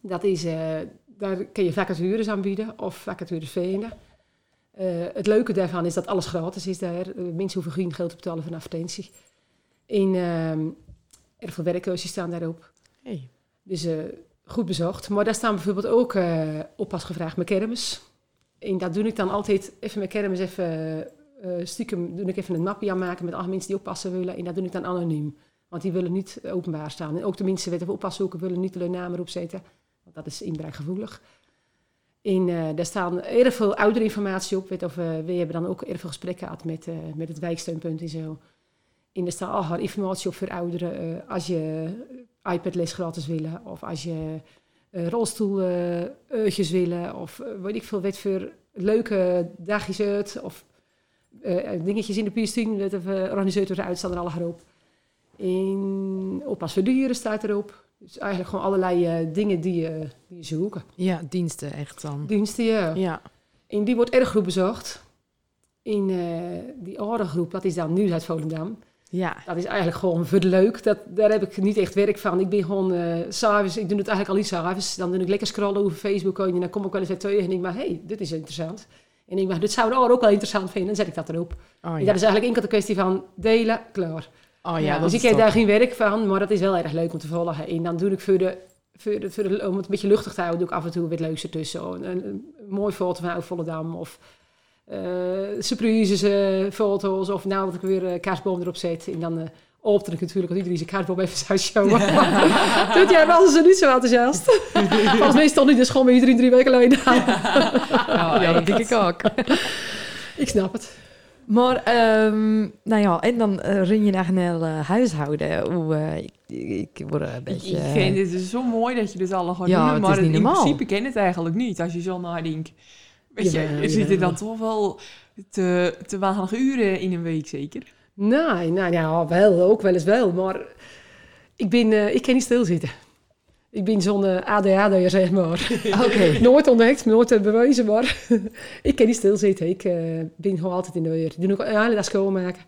[SPEAKER 3] Dat is, eh, daar kun je vacatures aanbieden of vacatures vinden. Eh, het leuke daarvan is dat alles gratis is daar. Eh, Mensen hoeven geen geld te betalen voor een advertentie. En ehm, er veel werkkeuzes staan daarop.
[SPEAKER 1] Hey.
[SPEAKER 3] Dus eh, goed bezocht. Maar daar staan bijvoorbeeld ook eh oppas gevraagd met kermis. En dat doe ik dan altijd even met kermis even eh, stiekem doe ik even een mapje aanmaken met alle mensen die oppassen willen. En dat doe ik dan anoniem. Want die willen niet eh, openbaar staan. En ook de mensen weten of oppassen zoeken willen niet hun naam erop zetten. Want dat is inbraakgevoelig. En eh, daar staan erg veel ouderinformatie op. Weet of, eh, we hebben dan ook erg veel gesprekken gehad met, eh, met het wijksteunpunt en zo. En er staat al haar informatie op voor ouderen. eh, als je iPad-les gratis willen. Of als je eh rolstoelurtjes willen. Of eh, weet ik veel wat voor leuke dagjes uit. Of eh, dingetjes in de pierstuin. Dat we organiseerd worden uit, staan er alle op. In oppas voor dieren staat erop. Dus eigenlijk gewoon allerlei eh, dingen die je, die je zoeken.
[SPEAKER 1] Ja, diensten echt dan.
[SPEAKER 3] Diensten, ja.
[SPEAKER 1] Ja.
[SPEAKER 3] En die wordt erg goed bezocht. In eh, die andere groep, dat is dan Nieuws uit Volendam.
[SPEAKER 1] Ja.
[SPEAKER 3] Dat is eigenlijk gewoon voor de leuk. Dat, daar heb ik niet echt werk van. Ik ben gewoon eh, s s'avonds, ik doe het eigenlijk al iets s'avonds. Dan doe ik lekker scrollen over Facebook en dan kom ik wel eens wat tegen en ik maar, hé, hey, dit is interessant. En ik maar, dit zou de ander ook wel interessant vinden. En dan zet ik dat erop.
[SPEAKER 1] Oh ja.
[SPEAKER 3] En dat is dus eigenlijk enkel een kwestie van delen, klaar.
[SPEAKER 1] Oh ja,
[SPEAKER 4] Ja,
[SPEAKER 1] dat
[SPEAKER 3] dus
[SPEAKER 1] is
[SPEAKER 3] ik heb
[SPEAKER 1] top.
[SPEAKER 3] daar geen werk van, maar dat is wel erg leuk om te volgen. En dan doe ik voor de, voor de, voor de- om het een beetje luchtig te houden, doe ik af en toe wat leuks ertussen. Een, een, een mooi foto van oud Volendam of eh, surprises, eh, foto's. Of nou dat ik weer een kaarsboom erop zet. En dan eh opter ik natuurlijk dat iedereen zijn kaarsboom even zou showen. Toen jij was ze niet zo enthousiast. Volgens mij stond hij dus gewoon bij iedereen drie weken alleen aan.
[SPEAKER 1] Oh ja, dat denk ik ook.
[SPEAKER 3] Ik snap het.
[SPEAKER 1] Maar, ehm, nou ja, en dan eh, ren je naar een heel eh, huishouden. Hoe, eh, ik, ik word een beetje... eh,
[SPEAKER 4] Ik vind het dus zo mooi dat je dit allemaal gaat
[SPEAKER 1] Ja,
[SPEAKER 4] doen,
[SPEAKER 1] het
[SPEAKER 4] maar
[SPEAKER 1] is niet
[SPEAKER 4] in
[SPEAKER 1] normaal.
[SPEAKER 4] principe ken het eigenlijk niet als je zo nadenkt. Weet je,
[SPEAKER 3] Jawel,
[SPEAKER 4] er zitten
[SPEAKER 3] jawel.
[SPEAKER 4] dan toch wel te, te weinig uren in een week zeker.
[SPEAKER 3] Nee, nou ja, wel, ook wel eens wel. Maar ik, ben, eh, ik kan niet stilzitten. Ik ben zo'n eh, ADHD'er, zeg maar.
[SPEAKER 1] Oké.
[SPEAKER 3] nooit ontdekt, nooit eh, bewezen, maar ik kan niet stilzitten. Ik eh, ben gewoon altijd in de weer. Ik doe ook een hele dag schoonmaken.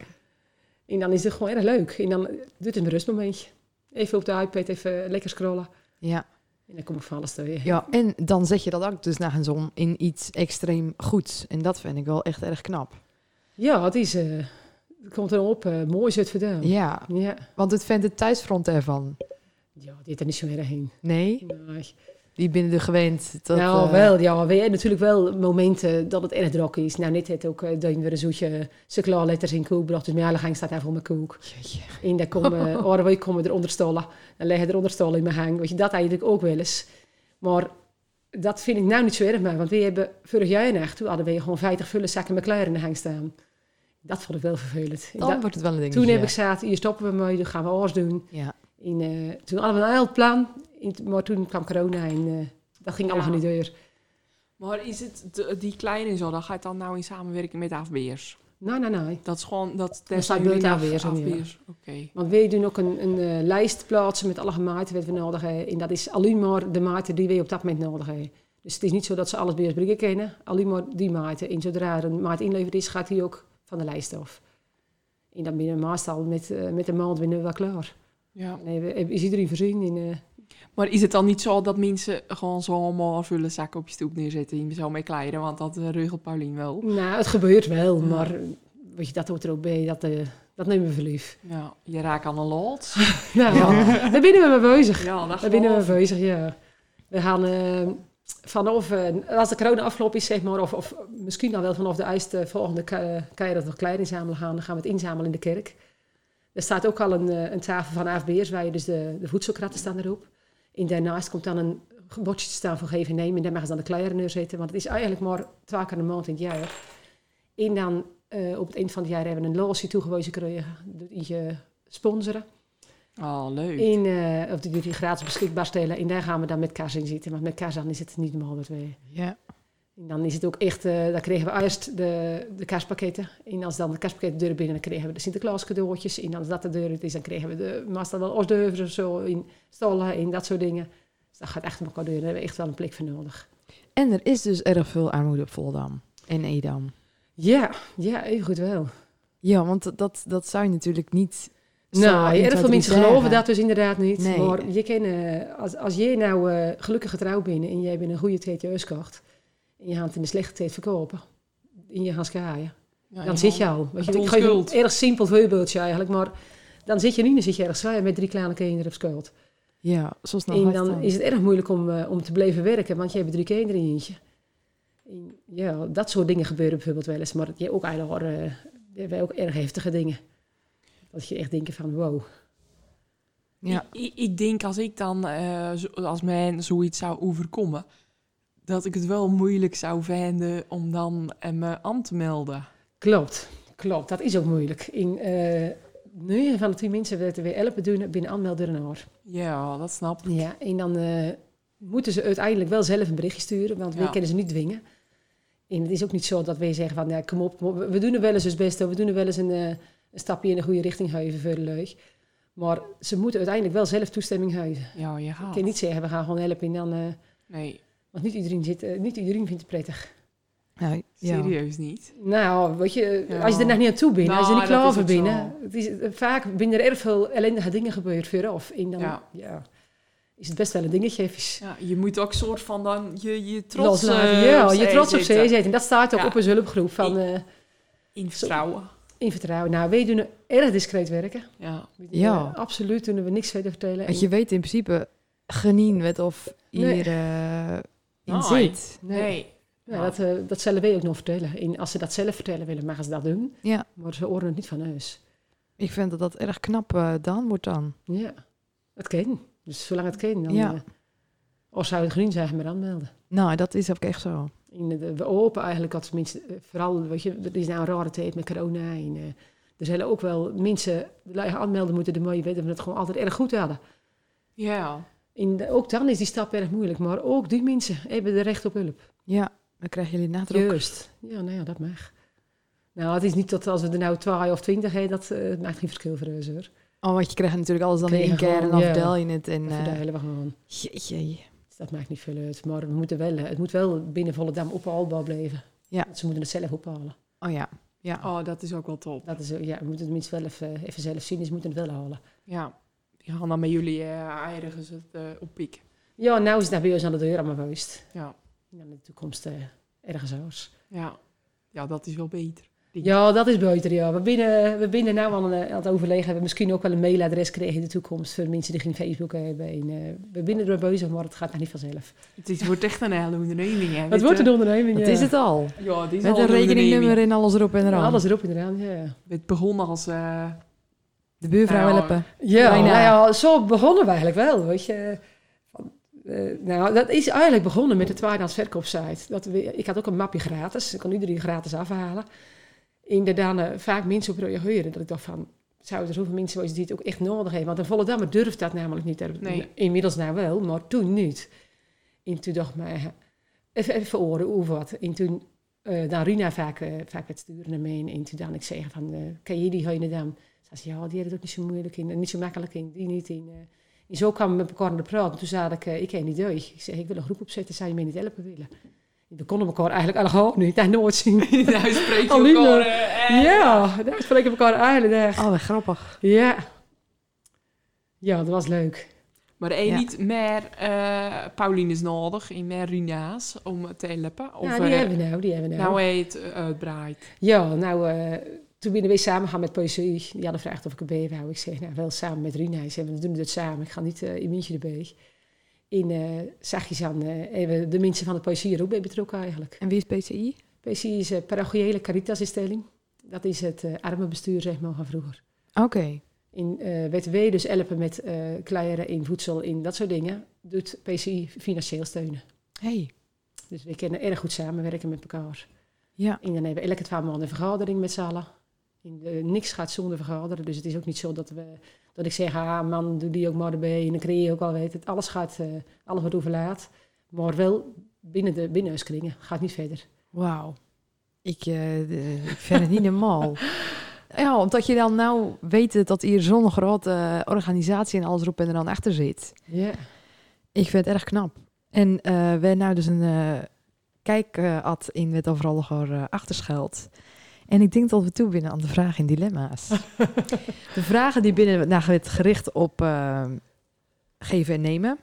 [SPEAKER 3] En dan is het gewoon erg leuk. En dan eh, doet het een rustmomentje. Even op de iPad, even lekker scrollen.
[SPEAKER 1] Ja.
[SPEAKER 3] En dan kom ik van alles weer.
[SPEAKER 1] ja, en dan zet je dat ook dus na een zon in iets extreem goeds. En dat vind ik wel echt erg knap.
[SPEAKER 3] Ja, het is... eh, het komt erop. eh mooi is het
[SPEAKER 1] Ja,
[SPEAKER 3] vandaan. Ja.
[SPEAKER 1] want het vindt het thuisfront ervan.
[SPEAKER 3] Ja, dit er niet zo erg heen.
[SPEAKER 1] Nee,
[SPEAKER 3] Nee.
[SPEAKER 1] die binnen de gewend. Dat,
[SPEAKER 3] nou,
[SPEAKER 1] eh,
[SPEAKER 3] wel, ja. We hebben natuurlijk wel momenten dat het erg drok is. Nou, net het ook eh, dat je weer een zoetje chocolaatletters in koek bracht. Dus mijn hele gang staat daar vol met koek.
[SPEAKER 1] Jeetje.
[SPEAKER 3] En dan komen, oh, dan komen eronder stollen. Dan leggen eronder stollen in mijn hang. Weet je, dat eigenlijk ook wel eens. Maar dat vind ik nou niet zo erg maar. Want we hebben vorig jaar en echt, toen hadden we gewoon 50 vullen zakken met kleur in de hang staan. Dat vond ik wel vervelend. En
[SPEAKER 1] Dan
[SPEAKER 3] dat-
[SPEAKER 1] wordt het wel een ding.
[SPEAKER 3] toen heb ik gezegd, hier stoppen we mee, dan gaan we alles doen.
[SPEAKER 1] Ja,
[SPEAKER 3] En, eh, toen hadden we een heel plan, En t- maar toen kwam corona en eh, dat ging allemaal
[SPEAKER 4] Ja.
[SPEAKER 3] niet door.
[SPEAKER 4] Maar is het de- die kleine zo, dat gaat dan nou in samenwerking met afbeers?
[SPEAKER 3] Nee, nee, nee.
[SPEAKER 4] Dat is gewoon, dat
[SPEAKER 3] staat
[SPEAKER 4] jullie
[SPEAKER 3] buiten
[SPEAKER 4] af-
[SPEAKER 3] Afbeers om, ja.
[SPEAKER 4] Afbeers, Oké.
[SPEAKER 3] Want wij doen ook een, een eh, lijst plaatsen met alle maarten wat we nodig hebben. En dat is alleen maar de maarten die wij op dat moment nodig hebben. Dus het is niet zo dat ze alles bij ons brengen kennen. Alleen maar die maarten. En zodra er een maart inleverd is, gaat die ook van de lijst af. En dan binnen maastal met, eh, met de maand binnen we wel klaar.
[SPEAKER 4] Ja.
[SPEAKER 3] Nee, we, is iedereen voorzien. En, eh,
[SPEAKER 4] Maar is het dan niet zo dat mensen gewoon zomaar vullen zakken op je stoep neerzetten en zo mee kleden? Want dat eh, regelt Paulien wel.
[SPEAKER 3] nou, het gebeurt wel, maar weet je, dat hoort er ook bij. Dat, eh, dat nemen we voor lief.
[SPEAKER 4] Ja, je raakt aan een lot.
[SPEAKER 3] Nou, daar binnen we mee bezig.
[SPEAKER 4] Ja, dat
[SPEAKER 3] Daar binnen
[SPEAKER 2] oh.
[SPEAKER 3] we mee bezig, ja. We gaan eh, vanaf, eh, als de corona afgelopen is, zeg maar, of, of misschien dan wel vanaf de ijs de volgende ke- keer dat we klein inzamelen gaan, dan gaan we het inzamelen in de kerk. Er staat ook al een, eh, een tafel van AFB'ers, waar je dus de, de voedselkratten staan erop. En daarnaast komt dan een bordje te staan voor geven en nemen. En daar mag ze dan de kleinere neerzetten, want het is eigenlijk maar twee keer een maand in het jaar. En dan eh, op het eind van het jaar hebben we een lotie toegewezen gekregen, door die eh, sponsoren.
[SPEAKER 4] Oh, leuk.
[SPEAKER 3] In, eh, of die jullie gratis beschikbaar stellen. En daar gaan we dan met kaas in zitten. Want met kaas aan is het niet normaal wat we.
[SPEAKER 1] Ja.
[SPEAKER 3] En dan is het ook echt, eh dan kregen we eerst de, de kaaspakketten. En als dan de kaaspakketten deur binnen, dan kregen we de Sinterklaas cadeautjes. En als dat de deur is, dan kregen we de master wel osdeuvers of zo. In stallen en dat soort dingen. Dus dat gaat echt om elkaar deur. Daar hebben we echt wel een plek voor nodig.
[SPEAKER 1] En er is dus erg veel armoede op Voldam en Edam.
[SPEAKER 3] Ja, ja, even goed wel.
[SPEAKER 1] Ja, want dat- dat, dat zou je natuurlijk niet... zo
[SPEAKER 3] Nou,
[SPEAKER 1] in
[SPEAKER 3] erg veel
[SPEAKER 1] twee,
[SPEAKER 3] mensen
[SPEAKER 1] drie
[SPEAKER 3] geloven
[SPEAKER 1] dagen-
[SPEAKER 3] dat dus inderdaad niet.
[SPEAKER 1] Nee.
[SPEAKER 3] Maar je kan, eh, als, als jij nou eh, gelukkig getrouwd bent en jij bent een goede tijd juist kocht, en je gaat het in de slechte tijd verkopen, en je gaat skaaien, dan zit je al. Weet je,
[SPEAKER 4] het
[SPEAKER 3] ik geef een
[SPEAKER 4] onschuld.
[SPEAKER 3] erg simpel voorbeeldje eigenlijk, maar dan zit je nu, dan zit je erg zwaar met drie kleine kinderen op schuld.
[SPEAKER 1] Ja, zo snel
[SPEAKER 3] en
[SPEAKER 1] gaat
[SPEAKER 3] dan
[SPEAKER 1] het
[SPEAKER 3] is het erg moeilijk om, eh, om te blijven werken, want je hebt drie kinderen in je eentje. En ja, dat soort dingen gebeuren bijvoorbeeld wel eens, maar je hebt ook eigenlijk hoor, eh, je hebt ook erg heftige dingen. Dat je echt denkt van wow.
[SPEAKER 1] Ja.
[SPEAKER 4] Ik, ik- ik denk als ik dan, eh, zo- als mij zoiets zou overkomen, dat ik het wel moeilijk zou vinden om dan eh, me aan te melden.
[SPEAKER 3] Klopt, klopt. Dat is ook moeilijk. In, eh nu van de tien mensen weten weer elk bedoelen binnen aanmelden een hoor.
[SPEAKER 4] Ja, dat snap ik.
[SPEAKER 3] Ja, en dan eh, moeten ze uiteindelijk wel zelf een berichtje sturen, want wij
[SPEAKER 4] Ja.
[SPEAKER 3] kunnen ze niet dwingen. En het is ook niet zo dat wij zeggen van, ja, kom op, kom op. We- we doen er wel eens ons best, hoor. we doen er wel eens een, eh, een stapje in de goede richting huiven voor de leuk. Maar ze moeten uiteindelijk wel zelf toestemming huizen.
[SPEAKER 4] Ja, je
[SPEAKER 3] Ik
[SPEAKER 4] gaat.
[SPEAKER 3] kan niet zeggen, we gaan gewoon helpen en dan... eh,
[SPEAKER 4] Nee,
[SPEAKER 3] want niet iedereen, zit, eh, niet iedereen vindt het prettig.
[SPEAKER 1] Nou, ja.
[SPEAKER 4] serieus niet.
[SPEAKER 3] Nou, weet je,
[SPEAKER 4] Ja.
[SPEAKER 3] als je er nog niet aan toe bent, als je er
[SPEAKER 4] Nou,
[SPEAKER 3] niet
[SPEAKER 4] dat
[SPEAKER 3] klaar
[SPEAKER 4] is
[SPEAKER 3] voor
[SPEAKER 4] ook
[SPEAKER 3] bent,
[SPEAKER 4] zo.
[SPEAKER 3] hè, het is eh, vaak binnen er erg veel ellendige dingen gebeurd vooraf. En dan ja.
[SPEAKER 4] Ja.
[SPEAKER 3] is het best wel een dingetje even
[SPEAKER 4] Ja, je moet ook soort van dan je, je trots
[SPEAKER 3] loslaten.
[SPEAKER 4] eh,
[SPEAKER 3] ja, je
[SPEAKER 4] opzij
[SPEAKER 3] trots op
[SPEAKER 4] zetten.
[SPEAKER 3] zee zetten. En dat staat ook
[SPEAKER 4] Ja.
[SPEAKER 3] op een hulpgroep van eh,
[SPEAKER 4] In vertrouwen.
[SPEAKER 3] in vertrouwen. Nou, wij doen erg discreet werken.
[SPEAKER 4] Ja.
[SPEAKER 1] Ja.
[SPEAKER 3] Eh, absoluut doen we niks verder vertellen.
[SPEAKER 1] Want je weet in principe genien met of
[SPEAKER 3] Nee.
[SPEAKER 1] hier eh, in
[SPEAKER 4] Nee.
[SPEAKER 1] zit.
[SPEAKER 3] En-
[SPEAKER 4] Nee.
[SPEAKER 3] nee. Nou, dat, eh, dat zullen wij ook nog vertellen. En als ze dat zelf vertellen willen, mogen ze dat doen.
[SPEAKER 1] Ja.
[SPEAKER 3] Maar ze horen het niet van huis.
[SPEAKER 1] Ik vind dat dat erg knap eh dan wordt dan.
[SPEAKER 3] Ja, dat kan. Dus zolang het kan, dan...
[SPEAKER 1] Ja.
[SPEAKER 3] eh, of zou het groen zijn, maar aanmelden.
[SPEAKER 1] Nou, dat is ook echt zo.
[SPEAKER 3] In de- we hopen eigenlijk dat mensen, eh, vooral, weet je, er is nou een rare tijd met corona. En, eh, er zullen ook wel mensen die zich aanmelden moeten, de mooie weten we het gewoon altijd erg goed hadden.
[SPEAKER 4] Ja.
[SPEAKER 3] En de- ook dan is die stap erg moeilijk, maar ook die mensen hebben de recht op hulp.
[SPEAKER 1] Ja, dan krijgen jullie nadruk.
[SPEAKER 3] Juist. Ja, nou ja, dat mag. Nou, het is niet dat als we er nou 12 of 20 hebben, dat eh, het maakt geen verschil voor ons hoor.
[SPEAKER 1] Oh, want je krijgt natuurlijk alles dan in
[SPEAKER 3] Krijg je
[SPEAKER 1] één keer en dan
[SPEAKER 3] gewoon, ja.
[SPEAKER 1] verdel je het. En,
[SPEAKER 3] Dat
[SPEAKER 1] eh,
[SPEAKER 3] verdelen we gewoon.
[SPEAKER 1] jeetje.
[SPEAKER 3] Dus dat maakt niet veel uit. Maar we moeten wel, eh, het moet wel binnen Volendam ophaalbaar blijven.
[SPEAKER 1] Ja.
[SPEAKER 3] Want ze moeten het zelf ophalen.
[SPEAKER 1] Oh ja,
[SPEAKER 4] Oh, dat is ook wel top.
[SPEAKER 3] Dat is, eh, ja, we moeten het tenminste wel even, even zelf zien, dus we moeten het wel halen.
[SPEAKER 4] Ja. Die gaan dan met jullie eh ergens het eh, oppikken.
[SPEAKER 3] Ja, nou is het bij ons aan de deur aan mijn vuist.
[SPEAKER 4] Ja.
[SPEAKER 3] En dan in de toekomst eh, ergens anders.
[SPEAKER 4] Ja. Ja, dat is wel beter.
[SPEAKER 3] Ja, dat is beter. Ja. We binnen, we binnen nou aan, eh, aan het overleggen. We misschien ook wel een mailadres kregen in de toekomst voor mensen die geen Facebook hebben. En, eh, we binnen er bezig, maar het gaat nog niet vanzelf.
[SPEAKER 4] Het is- wordt echt een hele onderneming. Hè,
[SPEAKER 3] Het
[SPEAKER 4] dit,
[SPEAKER 3] wordt
[SPEAKER 4] eh.
[SPEAKER 3] een onderneming.
[SPEAKER 1] dat
[SPEAKER 3] ja.
[SPEAKER 1] is het al.
[SPEAKER 4] Ja, dit is
[SPEAKER 1] Met
[SPEAKER 4] al
[SPEAKER 1] een rekeningnummer
[SPEAKER 4] onderneming.
[SPEAKER 1] en alles erop en eraan.
[SPEAKER 3] Alles erop en eraan. Ja,
[SPEAKER 4] Het begon als... eh,
[SPEAKER 1] De buurvrouw
[SPEAKER 4] Nou,
[SPEAKER 1] helpen.
[SPEAKER 3] ja,
[SPEAKER 1] Bijna.
[SPEAKER 3] nou ja zo begonnen we eigenlijk wel. Weet je. Van, eh, nou, dat is eigenlijk begonnen met de tweedehands verkoopsite. Dat we, ik had ook een mapje gratis. Ik kon iedereen gratis afhalen. En daar dan eh, vaak mensen op reageren. Dat ik dacht van, zouden er zoveel mensen zijn die het ook echt nodig hebben? Want een Volendammer durft dat namelijk niet.
[SPEAKER 4] Nee.
[SPEAKER 3] Inmiddels nou wel, maar toen niet. En toen dacht ik, maar, eh, even, even oren of wat. En toen eh dan Rina vaak, eh, vaak werd sturen naar mij. En toen dan ik zeggen van, eh, ken je die Heine dan? Ze zei, ja, die had het ook niet zo moeilijk in, en niet zo makkelijk in, die niet in. eh. En zo kwamen we met elkaar aan de praat. En toen zei ik, eh, ik ken die deug. Ik zei, ik wil een groep opzetten, zou je mij niet helpen willen? En we konden elkaar eigenlijk allemaal niet, dat nooit zien.
[SPEAKER 4] nou spreek je
[SPEAKER 3] Aline.
[SPEAKER 4] elkaar... eh, eh.
[SPEAKER 3] Ja, daar spreken we elkaar eigenlijk echt.
[SPEAKER 1] Oh, wat grappig.
[SPEAKER 3] Ja. Ja, dat was leuk.
[SPEAKER 4] Maar één
[SPEAKER 1] Ja.
[SPEAKER 4] niet meer eh Pauline is nodig en meer Rina's om het te helpen. Of,
[SPEAKER 3] nou, die
[SPEAKER 4] eh,
[SPEAKER 3] hebben we nou, die hebben we nou.
[SPEAKER 4] nou heet eh, uitbraait.
[SPEAKER 3] ja, nou, eh, toen ben we samen gaan met poëzie. Die hadden gevraagd of ik erbij wou. Ik zei, nou wel samen met Rina. Hij zei, we doen het samen. Ik ga niet eh, in Mientje erbij. In eh zachtjes aan eh, en we- de mensen van de poëzie er ook bij betrokken eigenlijk.
[SPEAKER 1] En wie is PCI?
[SPEAKER 3] Poëzie is een parochiële caritasinstelling. Dat is het eh armenbestuur zeg maar van vroeger.
[SPEAKER 1] Oké.
[SPEAKER 3] In eh WTW dus helpen met eh kleineren in voedsel, in dat soort dingen. Doet PCI financieel steunen.
[SPEAKER 1] Hey.
[SPEAKER 3] Dus we kunnen erg goed samenwerken met elkaar.
[SPEAKER 1] Ja.
[SPEAKER 3] En dan hebben we elke twee maanden een vergadering met z'n allen. En, eh, niks gaat zonder vergaderen. Dus het is ook niet zo dat, we, dat ik zeg, ah man, doe die ook maar erbij. En dan creëer je ook al weet het. Alles gaat, eh, alles wordt overlaat. Maar wel binnen de binnenhuiskringen. Gaat niet verder.
[SPEAKER 1] Wauw. Ik, eh, eh, ik vind het niet normaal. Ja, omdat je dan nou weet dat hier zo'n grote eh, organisatie en alles erop en eraan achter zit.
[SPEAKER 3] Ja.
[SPEAKER 1] Ik vind het erg knap. En eh wij nou dus een eh, kijk eh, had in wat overal nog er, eh, achter schuilt. En ik denk dat we toe binnen aan de vragen en dilemma's. de vragen die binnen nou, het gericht op eh, geven en nemen.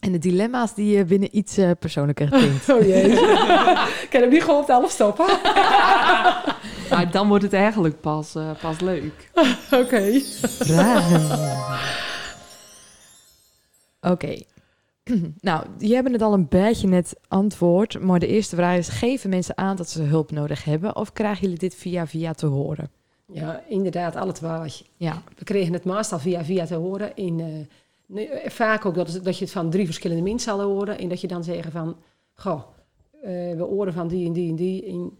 [SPEAKER 1] En de dilemma's die je binnen iets eh, persoonlijker denkt.
[SPEAKER 3] Oh jee. ik kan hem niet gewoon op de helft stoppen.
[SPEAKER 4] Nou, dan wordt het eigenlijk pas, eh, pas leuk.
[SPEAKER 3] Oké.
[SPEAKER 1] vragen. Oké. nou, die hebben het al een beetje net antwoord. Maar de eerste vraag is: geven mensen aan dat ze hulp nodig hebben? Of krijgen jullie dit via via te horen?
[SPEAKER 3] Ja, inderdaad, alle twaalf.
[SPEAKER 1] Ja.
[SPEAKER 3] We kregen het meestal via via te horen. In, eh, nee, vaak ook dat, het- dat je het van drie verschillende mensen zal horen. En dat je dan zeggen van, goh, eh, we horen van die en die en die. En,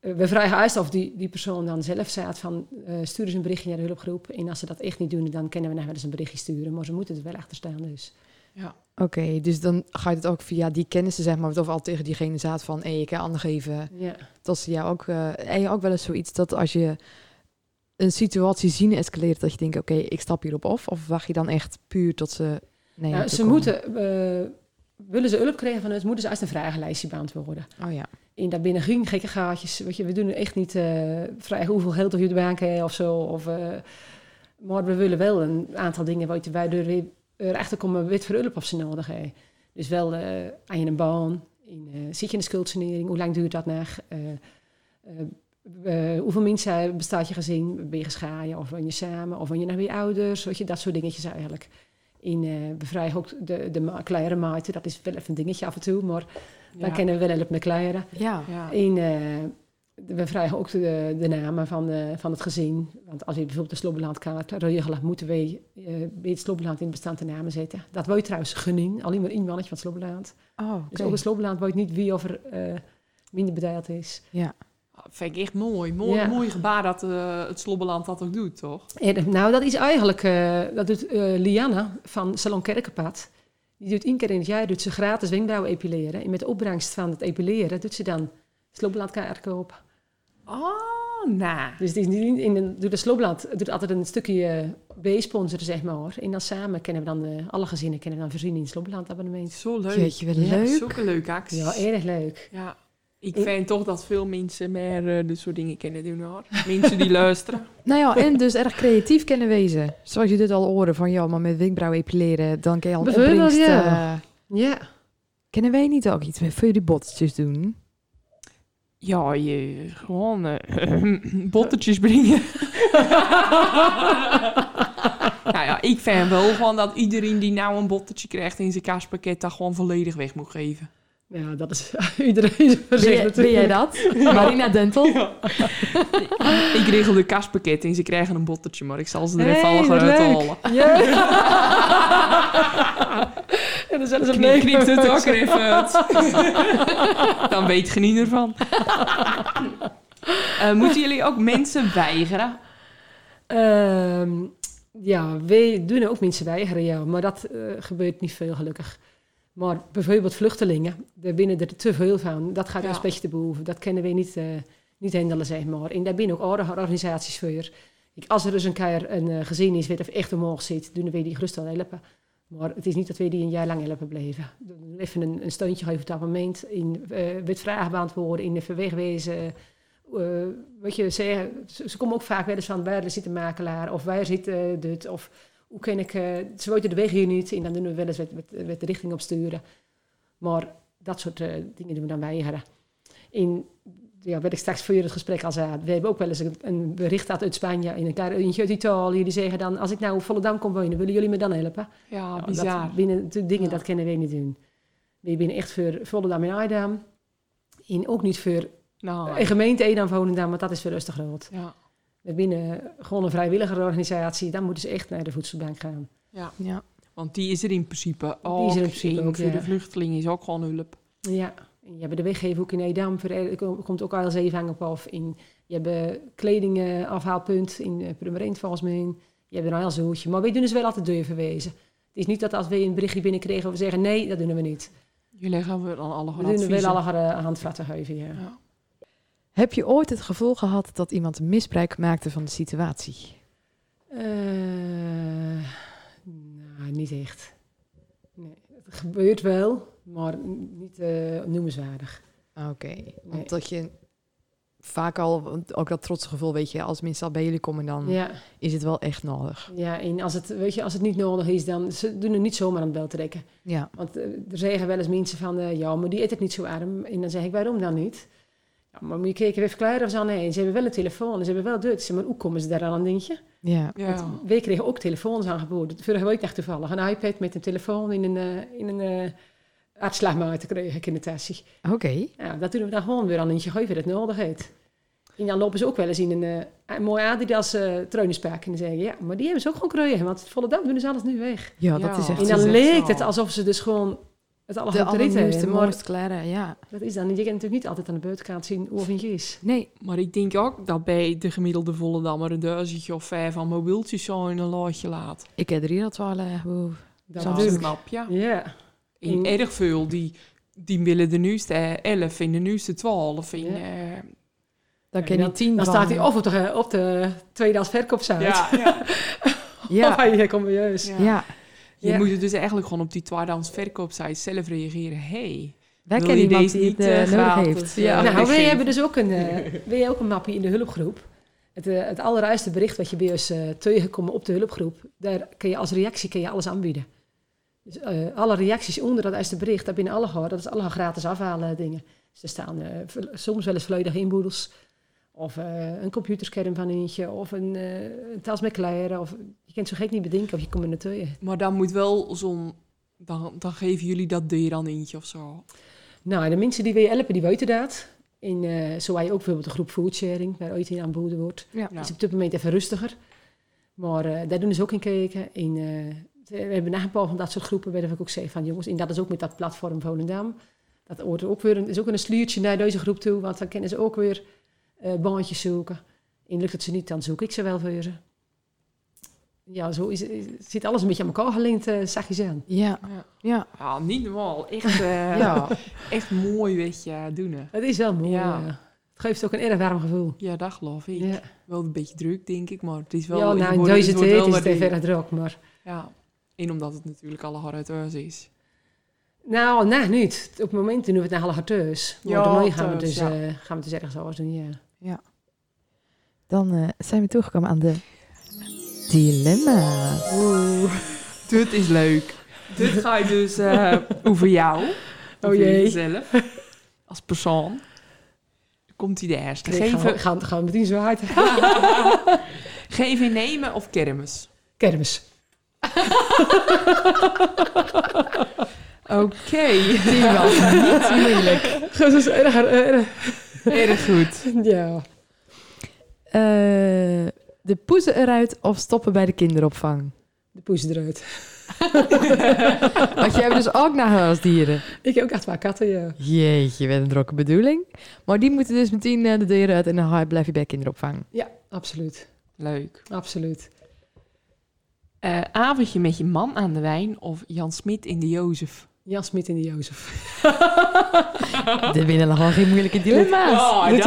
[SPEAKER 3] eh, we vragen uit of die, die persoon dan zelf staat van, eh, stuur eens een berichtje naar de hulpgroep. En als ze dat echt niet doen, dan kunnen we nog wel eens een berichtje sturen. Maar ze moeten er wel achter staan dus.
[SPEAKER 1] Oké, dus dan ga je het ook via die kennissen, zeg maar, of al tegen diegene zaad van: hé, ik kan aangeven.
[SPEAKER 3] Ja.
[SPEAKER 1] Dat ze jou ook. eh en je ook wel eens zoiets dat als je een situatie zien escaleert, dat je denkt: oké, ik stap hierop af. Of wacht je dan echt puur tot ze. Nee,
[SPEAKER 3] Nou, ze moeten, eh, willen ze hulp krijgen van ons, moeten ze uit een vragenlijstje beantwoorden.
[SPEAKER 1] Oh ja.
[SPEAKER 3] in daar binnen geen gekke gaatjes. Weet je, we doen echt niet eh, vragen hoeveel geld of je de bank hebt of zo. Of, eh, maar we willen wel een aantal dingen weet je, waardoor we erachter komen wat voor hulp of ze nodig hebben. Dus wel eh, aan je een baan, in, eh, zit je in de schuldsanering, hoe lang duurt dat nog? Eh, eh, eh, hoeveel mensen bestaat je gezin? Ben je gescheiden of woon je samen? Of woon je naar je ouders? Weet je, dat soort dingetjes eigenlijk. In eh we vragen ook de, de ma- kleinere maten, dat is wel even een dingetje af en toe, maar dan
[SPEAKER 4] ja.
[SPEAKER 3] kennen we wel help met kleineren.
[SPEAKER 1] Ja.
[SPEAKER 4] Ja.
[SPEAKER 3] En, eh, we vragen ook de, de namen van, eh, van het gezin. Want als je bijvoorbeeld de Slobbelandkaart regelt, moeten wij eh, bij het Slobbeland in het bestand de namen zetten. Dat wordt trouwens gunning, alleen maar één mannetje van het Slobbeland.
[SPEAKER 1] Oh,
[SPEAKER 3] Dus ook in Slobbeland weet niet wie of er eh, minder bedeeld is.
[SPEAKER 1] Ja.
[SPEAKER 4] Vind ik echt mooi. Mooi,
[SPEAKER 3] Ja.
[SPEAKER 4] mooi gebaar dat eh, het Slobbeland dat ook doet, toch?
[SPEAKER 3] En, nou, dat is eigenlijk, eh, dat doet eh, Liana van Salon Kerkenpad. Die doet één keer in het jaar doet ze gratis wenkbrauwen epileren. En met de opbrengst van het epileren doet ze dan Slobbelandkaart kopen.
[SPEAKER 4] Oh, nou.
[SPEAKER 3] Dus het is niet in een, door de Slobland doet altijd een stukje eh, B-sponsor, zeg maar. hoor. En dan samen kennen we dan, eh, alle gezinnen kennen we dan voorzien in het Slobland abonnement.
[SPEAKER 4] Zo leuk.
[SPEAKER 1] Jeetje, wat
[SPEAKER 4] Ja,
[SPEAKER 1] leuk.
[SPEAKER 4] Zulke leuke acties.
[SPEAKER 3] Ja, erg leuk.
[SPEAKER 4] Ja, ik vind toch dat veel mensen meer eh, dit soort dingen kennen doen hoor. Mensen die luisteren.
[SPEAKER 1] Nou ja, en dus erg creatief kunnen wezen. Zoals je dit al hoorde van, ja, maar met wenkbrauwen epileren, dan kan je al een
[SPEAKER 3] Bijvoorbeeld,
[SPEAKER 1] opbrengst...
[SPEAKER 3] ja.
[SPEAKER 1] eh,
[SPEAKER 3] Ja.
[SPEAKER 1] kennen wij niet ook iets met voor die botjes doen?
[SPEAKER 4] Ja, je gewoon eh, bottertjes brengen. nou ja, ik vind wel gewoon dat iedereen die nou een bottertje krijgt in zijn kaaspakket, dat gewoon volledig weg moet geven.
[SPEAKER 3] Ja, dat is iedereen voor
[SPEAKER 1] Ben,
[SPEAKER 3] zich
[SPEAKER 1] jij- ben
[SPEAKER 3] natuurlijk.
[SPEAKER 1] jij dat? Marina Dentel?
[SPEAKER 4] Ik regel de kaaspakket en ze krijgen een bottertje, maar ik zal ze er
[SPEAKER 1] Hey,
[SPEAKER 4] even alle
[SPEAKER 1] wat
[SPEAKER 4] uit
[SPEAKER 1] leuk.
[SPEAKER 4] halen.
[SPEAKER 3] Ja. en dan zullen ze
[SPEAKER 4] Knip, knipt het ook er even uit. Dan weet je niet ervan. Eh, moeten jullie ook mensen weigeren?
[SPEAKER 3] Ehm, ja, we doen ook mensen weigeren, ja. Maar dat eh, gebeurt niet veel, gelukkig. Maar bijvoorbeeld vluchtelingen, daar binnen er te veel van. Dat gaat
[SPEAKER 4] Ja.
[SPEAKER 3] respect te behoeven. Dat kunnen we niet, eh niet handelen, zeg maar. En daar binnen ook aardige organisaties voor. Ik, als er dus een keer een eh, gezin is, weet of echt omhoog zit, doen we die gerust wel helpen. Maar het is niet dat we die een jaar lang helpen blijven. Doen we Even een, een steuntje geven op dat moment. In eh met vragen beantwoorden, in even wegwezen. Eh, wat je zegt, ze, ze komen ook vaak wel eens van waar zit de makelaar of waar zit eh, dit of hoe kan ik, eh, ze weten de weg hier niet en dan doen we wel eens wat, wat, wat de richting op sturen. Maar dat soort eh, dingen doen we dan weigeren. En ja, werd ik straks voor het gesprek al zei, we hebben ook wel eens een, een bericht uit, uit Spanje en een klein eentje uit Italië. Die zeggen dan, als ik nou op Volendam kom wonen, willen jullie me dan helpen?
[SPEAKER 2] Ja,
[SPEAKER 3] Nou,
[SPEAKER 2] bizar.
[SPEAKER 3] Dat, binnen de dingen,
[SPEAKER 2] Ja.
[SPEAKER 3] dat kunnen wij niet doen. We zijn echt voor Volendam en Aardam. En ook niet voor
[SPEAKER 2] nou,
[SPEAKER 1] Eh,
[SPEAKER 3] een gemeente Edam Volendam, want dat is veel rustig groot.
[SPEAKER 2] ja.
[SPEAKER 3] We binnen gewoon een vrijwilligerorganisatie, dan moeten ze echt naar de voedselbank gaan.
[SPEAKER 1] Ja.
[SPEAKER 2] Want die is er in principe ook.
[SPEAKER 3] Die is er in principe ook,
[SPEAKER 2] voor
[SPEAKER 3] ja.
[SPEAKER 2] de vluchtelingen is ook gewoon hulp.
[SPEAKER 3] Ja, en je hebt de weggeven ook in Edam, voor, er komt ook ALC op af. En je hebt eh, kleding eh, afhaalpunt in eh, Purmerend volgens mij. Je hebt een ALC-hoedje, maar wij doen dus wel altijd deur verwezen. Het is niet dat als we een berichtje binnenkregen, we zeggen nee, dat doen we niet.
[SPEAKER 2] Jullie gaan we dan alle
[SPEAKER 3] We
[SPEAKER 2] gewoon
[SPEAKER 3] doen er wel
[SPEAKER 2] adviezen.
[SPEAKER 3] alle eh, handvatten geven, ja.
[SPEAKER 1] Heb je ooit het gevoel gehad dat iemand misbruik maakte van de situatie?
[SPEAKER 3] Eh, nou, niet echt. Nee, het gebeurt wel, maar n- niet eh, noemenswaardig.
[SPEAKER 1] Oké, want dat je vaak al, want ook dat trotse gevoel, weet je, als mensen al bij jullie komen, dan
[SPEAKER 3] Ja,
[SPEAKER 1] is het wel echt nodig.
[SPEAKER 3] ja, en als het, weet je, als het niet nodig is, dan ze doen er niet zomaar aan het bel trekken.
[SPEAKER 1] Ja,
[SPEAKER 3] Want eh, er zeggen wel eens mensen van, eh, ja, maar die eet ik niet zo arm. En dan zeg ik, waarom dan niet? Ja, maar moet je kijken even verklaren of zo? Nee, ze hebben wel een telefoon, en ze hebben wel dit. Ik zeg, Maar hoe komen ze daar aan, denk je?
[SPEAKER 1] ja,
[SPEAKER 2] Ja.
[SPEAKER 3] Wij kregen ook telefoons aangeboden. Vorige week dacht toevallig een iPad met een telefoon in een, eh in een eh uitslagmaat te krijgen in de tasje.
[SPEAKER 1] oké.
[SPEAKER 3] Ja, dat doen we dan gewoon weer aan eentje geven dat nodig heeft. En dan lopen ze ook wel eens in een eh, een mooi Adidas eh trainingspak. En dan zeggen ze, ja, maar die hebben ze ook gewoon kregen. Want Volendam doen ze alles nu weg.
[SPEAKER 1] Ja, dat is
[SPEAKER 2] Ja.
[SPEAKER 1] echt
[SPEAKER 3] en
[SPEAKER 2] is
[SPEAKER 3] dan
[SPEAKER 2] echt
[SPEAKER 3] leek het
[SPEAKER 2] zo.
[SPEAKER 3] alsof ze dus gewoon het alle
[SPEAKER 1] de
[SPEAKER 3] goed erin
[SPEAKER 1] allernieuwste,
[SPEAKER 3] hebben. Maar
[SPEAKER 1] mooiste kleren, ja.
[SPEAKER 3] dat is dan, niet. je kan natuurlijk niet altijd aan de buitenkant zien hoe of een je is.
[SPEAKER 1] Nee,
[SPEAKER 2] Maar ik denk ook dat bij de gemiddelde Volendammer een duizendje of vijf aan mobieltjes zo in een loodje laat.
[SPEAKER 1] ik heb er hier al twaalf. eh, hoe-
[SPEAKER 3] Dat
[SPEAKER 1] Zo.
[SPEAKER 2] Dat
[SPEAKER 3] natuurlijk.
[SPEAKER 2] snap je.
[SPEAKER 3] Ja,
[SPEAKER 2] In
[SPEAKER 3] In-
[SPEAKER 2] erg veel, die, die willen de nieuwste eh, 11, in de nieuwste 12. In,
[SPEAKER 3] Ja.
[SPEAKER 2] eh,
[SPEAKER 1] Dan ken
[SPEAKER 3] Ja,
[SPEAKER 1] je tien
[SPEAKER 3] dan
[SPEAKER 1] van-
[SPEAKER 3] staat hij of op de, eh, op de tweedehands verkoopsite.
[SPEAKER 2] ja, ja.
[SPEAKER 3] Ja.
[SPEAKER 1] Ja,
[SPEAKER 3] Of hij hier komt bij juist.
[SPEAKER 2] ja.
[SPEAKER 1] ja.
[SPEAKER 2] Je
[SPEAKER 3] Oh, Ja.
[SPEAKER 2] moet het dus eigenlijk gewoon op die tweedehands verkoopsite zelf reageren. Hey,
[SPEAKER 1] Wij
[SPEAKER 2] Wil
[SPEAKER 1] kennen
[SPEAKER 2] je
[SPEAKER 1] iemand
[SPEAKER 2] deze
[SPEAKER 1] die het
[SPEAKER 2] niet,
[SPEAKER 1] eh,
[SPEAKER 2] eh,
[SPEAKER 1] nodig
[SPEAKER 2] gratis?
[SPEAKER 1] heeft.
[SPEAKER 2] Ja.
[SPEAKER 3] nou, wij
[SPEAKER 2] weggeven.
[SPEAKER 3] hebben dus ook een, eh, wij ook een mapje in de hulpgroep. Het, eh, het allereerste bericht wat je bij ons eh, tegenkomt op de hulpgroep, daar kun je als reactie kun je alles aanbieden. Dus eh, alle reacties onder dat eerste bericht, daar binnen alle gehoor, dat is alle gratis afhalen dingen. Dus er staan eh, vo- soms wel eens volledige inboedels. Of eh, een computerscherm van eentje, of een, eh, een tas met kleren. Of, je kunt zo gek niet bedenken of je komt in de teugen.
[SPEAKER 2] maar dan moet wel zo'n... Dan, dan geven jullie dat deur aan eentje of zo.
[SPEAKER 3] Nou, de mensen die wij helpen, die weten dat. En eh, zo wij ook bijvoorbeeld de groep foodsharing, waar ooit in aanboden wordt.
[SPEAKER 2] Ja.
[SPEAKER 3] is op dit moment even rustiger. Maar eh, daar doen ze ook in kijken. En, eh, we hebben na een paar van dat soort groepen, waar ik ook zei van jongens, en dat is ook met dat platform Volendam. Dat hoort er ook weer, een- is ook een sliertje naar deze groep toe, want dan kunnen ze ook weer eh baantjes zoeken. En lukt het ze niet, dan zoek ik ze wel voor ze. Ja, zo is, is- zit alles een beetje aan elkaar gelinkt, eh zag je ze aan.
[SPEAKER 1] Ja,
[SPEAKER 2] Ja.
[SPEAKER 1] ja,
[SPEAKER 2] Ja, niet normaal. Echt, eh,
[SPEAKER 1] ja.
[SPEAKER 2] echt mooi, weet je, doen. hè.
[SPEAKER 3] Het is wel mooi.
[SPEAKER 2] Ja.
[SPEAKER 3] eh. het geeft ook een erg warm gevoel.
[SPEAKER 2] Ja, dat geloof ik.
[SPEAKER 3] Ja,
[SPEAKER 2] Wel een beetje druk, denk ik, maar het is wel...
[SPEAKER 3] ja
[SPEAKER 2] het
[SPEAKER 3] nou, in
[SPEAKER 2] wordt-
[SPEAKER 3] deze
[SPEAKER 2] wordt
[SPEAKER 3] tijd
[SPEAKER 2] wel
[SPEAKER 3] is het
[SPEAKER 2] wat-
[SPEAKER 3] even erg druk, maar...
[SPEAKER 2] Ja, en omdat het natuurlijk alle hard uit huis is.
[SPEAKER 3] Nou, nou niet. Op het moment doen we het naar half thuis. Maar
[SPEAKER 2] Ja,
[SPEAKER 3] daarmee gaan, we
[SPEAKER 2] thuis,
[SPEAKER 3] dus,
[SPEAKER 2] ja.
[SPEAKER 3] eh, gaan we dus ergens anders doen, ja.
[SPEAKER 1] Dan eh, zijn we toegekomen aan de dilemma's.
[SPEAKER 2] Dit is leuk. Dit ga je dus eh, over jou. Over
[SPEAKER 3] Oh, jee.
[SPEAKER 2] jezelf. Als persoon. Komt hij de eerste.
[SPEAKER 3] Nee, gaan, we,
[SPEAKER 2] Geven,
[SPEAKER 3] gaan, gaan we meteen zo hard.
[SPEAKER 2] geven, nemen of kermis?
[SPEAKER 3] Kermis.
[SPEAKER 2] Oké.
[SPEAKER 1] Die was niet moeilijk.
[SPEAKER 3] Dat is erg, erg.
[SPEAKER 2] Erg goed.
[SPEAKER 3] Ja.
[SPEAKER 1] Eh, de poezen eruit of stoppen bij de kinderopvang?
[SPEAKER 3] De poes eruit.
[SPEAKER 1] Want jij hebt dus ook naar huisdieren.
[SPEAKER 3] Ik heb ook echt waar katten, ja.
[SPEAKER 1] Jeetje, wat een drokke bedoeling. Maar die moeten dus meteen eh, de deur uit en dan ga je- blijf je bij kinderopvang.
[SPEAKER 3] Ja, absoluut.
[SPEAKER 2] Leuk.
[SPEAKER 3] Absoluut.
[SPEAKER 2] Eh, avondje met je man aan de wijn of Jan Smit in de Jozef?
[SPEAKER 3] Jan Smit en de Jozef.
[SPEAKER 1] Er winnen gewoon geen moeilijke dilemma's.
[SPEAKER 2] Oh,
[SPEAKER 3] Dit, eh,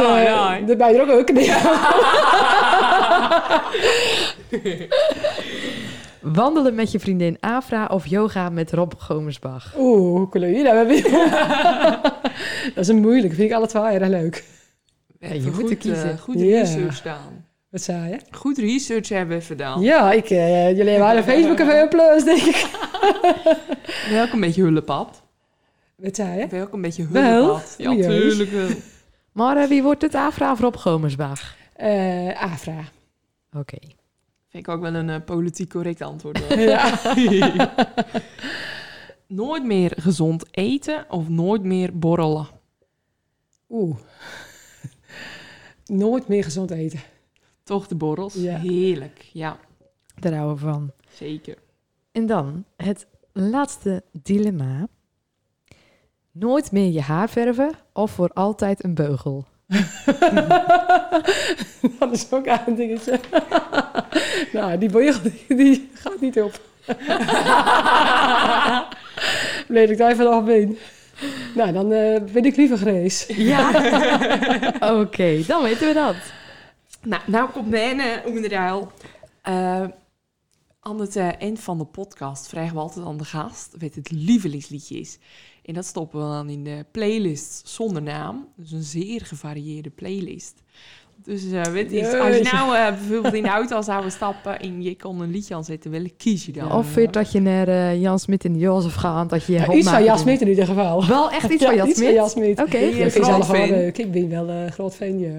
[SPEAKER 3] Daar ben je er ook ook in.
[SPEAKER 1] Wandelen met je vriendin Afra of yoga met Rob Gomersbach?
[SPEAKER 3] Oeh, hoe kleur je nou weer? Dat is een moeilijk. Vind ik alle twee erg leuk.
[SPEAKER 1] Ja, je moet er kiezen.
[SPEAKER 2] goed
[SPEAKER 3] Ja.
[SPEAKER 2] research gedaan.
[SPEAKER 3] Wat zei je?
[SPEAKER 2] Goed research hebben we gedaan.
[SPEAKER 3] Ja, ik, eh, jullie hebben haar op Facebook even plus, denk ik.
[SPEAKER 2] Welk een beetje hullepad.
[SPEAKER 3] Wat zei je?
[SPEAKER 2] Welk een beetje
[SPEAKER 3] Wel?
[SPEAKER 2] hullepad. Ja,
[SPEAKER 3] Oei, oei.
[SPEAKER 2] tuurlijk wel.
[SPEAKER 1] Maar eh, wie wordt het? Afra of Rob Gomersbach?
[SPEAKER 3] Eh, Afra.
[SPEAKER 1] Oké.
[SPEAKER 2] Vind ik ook wel een eh, politiek correct antwoord. hoor.
[SPEAKER 3] Ja.
[SPEAKER 2] nooit meer gezond eten of nooit meer borrelen.
[SPEAKER 3] Oeh. Nooit meer gezond eten.
[SPEAKER 2] Toch de borrels?
[SPEAKER 3] Ja.
[SPEAKER 2] Heerlijk, ja,
[SPEAKER 1] Daar houden we van.
[SPEAKER 2] zeker.
[SPEAKER 1] En dan het laatste dilemma. Nooit meer je haar verven of voor altijd een beugel?
[SPEAKER 3] Dat is ook een dingetje. nou, die beugel die, die gaat niet op. Bleef ik daar vanaf been. Nou, dan eh, ben ik liever Grace.
[SPEAKER 1] Ja. Oké, dan weten we dat.
[SPEAKER 2] Nou, nou komt mijn eh, onderdeel. Eh, aan het eh, eind van de podcast vragen we altijd aan de gast wat het lievelingsliedje is. En dat stoppen we dan in de playlist zonder naam. Dus een zeer gevarieerde playlist. Dus eh, weet je, als je
[SPEAKER 3] Jeetje.
[SPEAKER 2] nou eh, bijvoorbeeld in de auto zouden stappen en je kon een liedje aanzetten, welk kies je dan?
[SPEAKER 1] of vind je dat je naar eh, Jan Smit en Jozef gaat, dat je je
[SPEAKER 3] Ja,
[SPEAKER 1] hond
[SPEAKER 3] iets van
[SPEAKER 1] maakt.
[SPEAKER 3] Jasmit in ieder geval.
[SPEAKER 1] Wel echt iets van
[SPEAKER 3] Ja,
[SPEAKER 1] Jan
[SPEAKER 3] iets
[SPEAKER 1] Smit?
[SPEAKER 3] van Jan Smit.
[SPEAKER 1] Oké.
[SPEAKER 2] Ja,
[SPEAKER 3] Ik vind
[SPEAKER 2] groot
[SPEAKER 3] ze allemaal wel
[SPEAKER 2] fan.
[SPEAKER 3] leuk. Ik ben wel eh, groot fan, ja.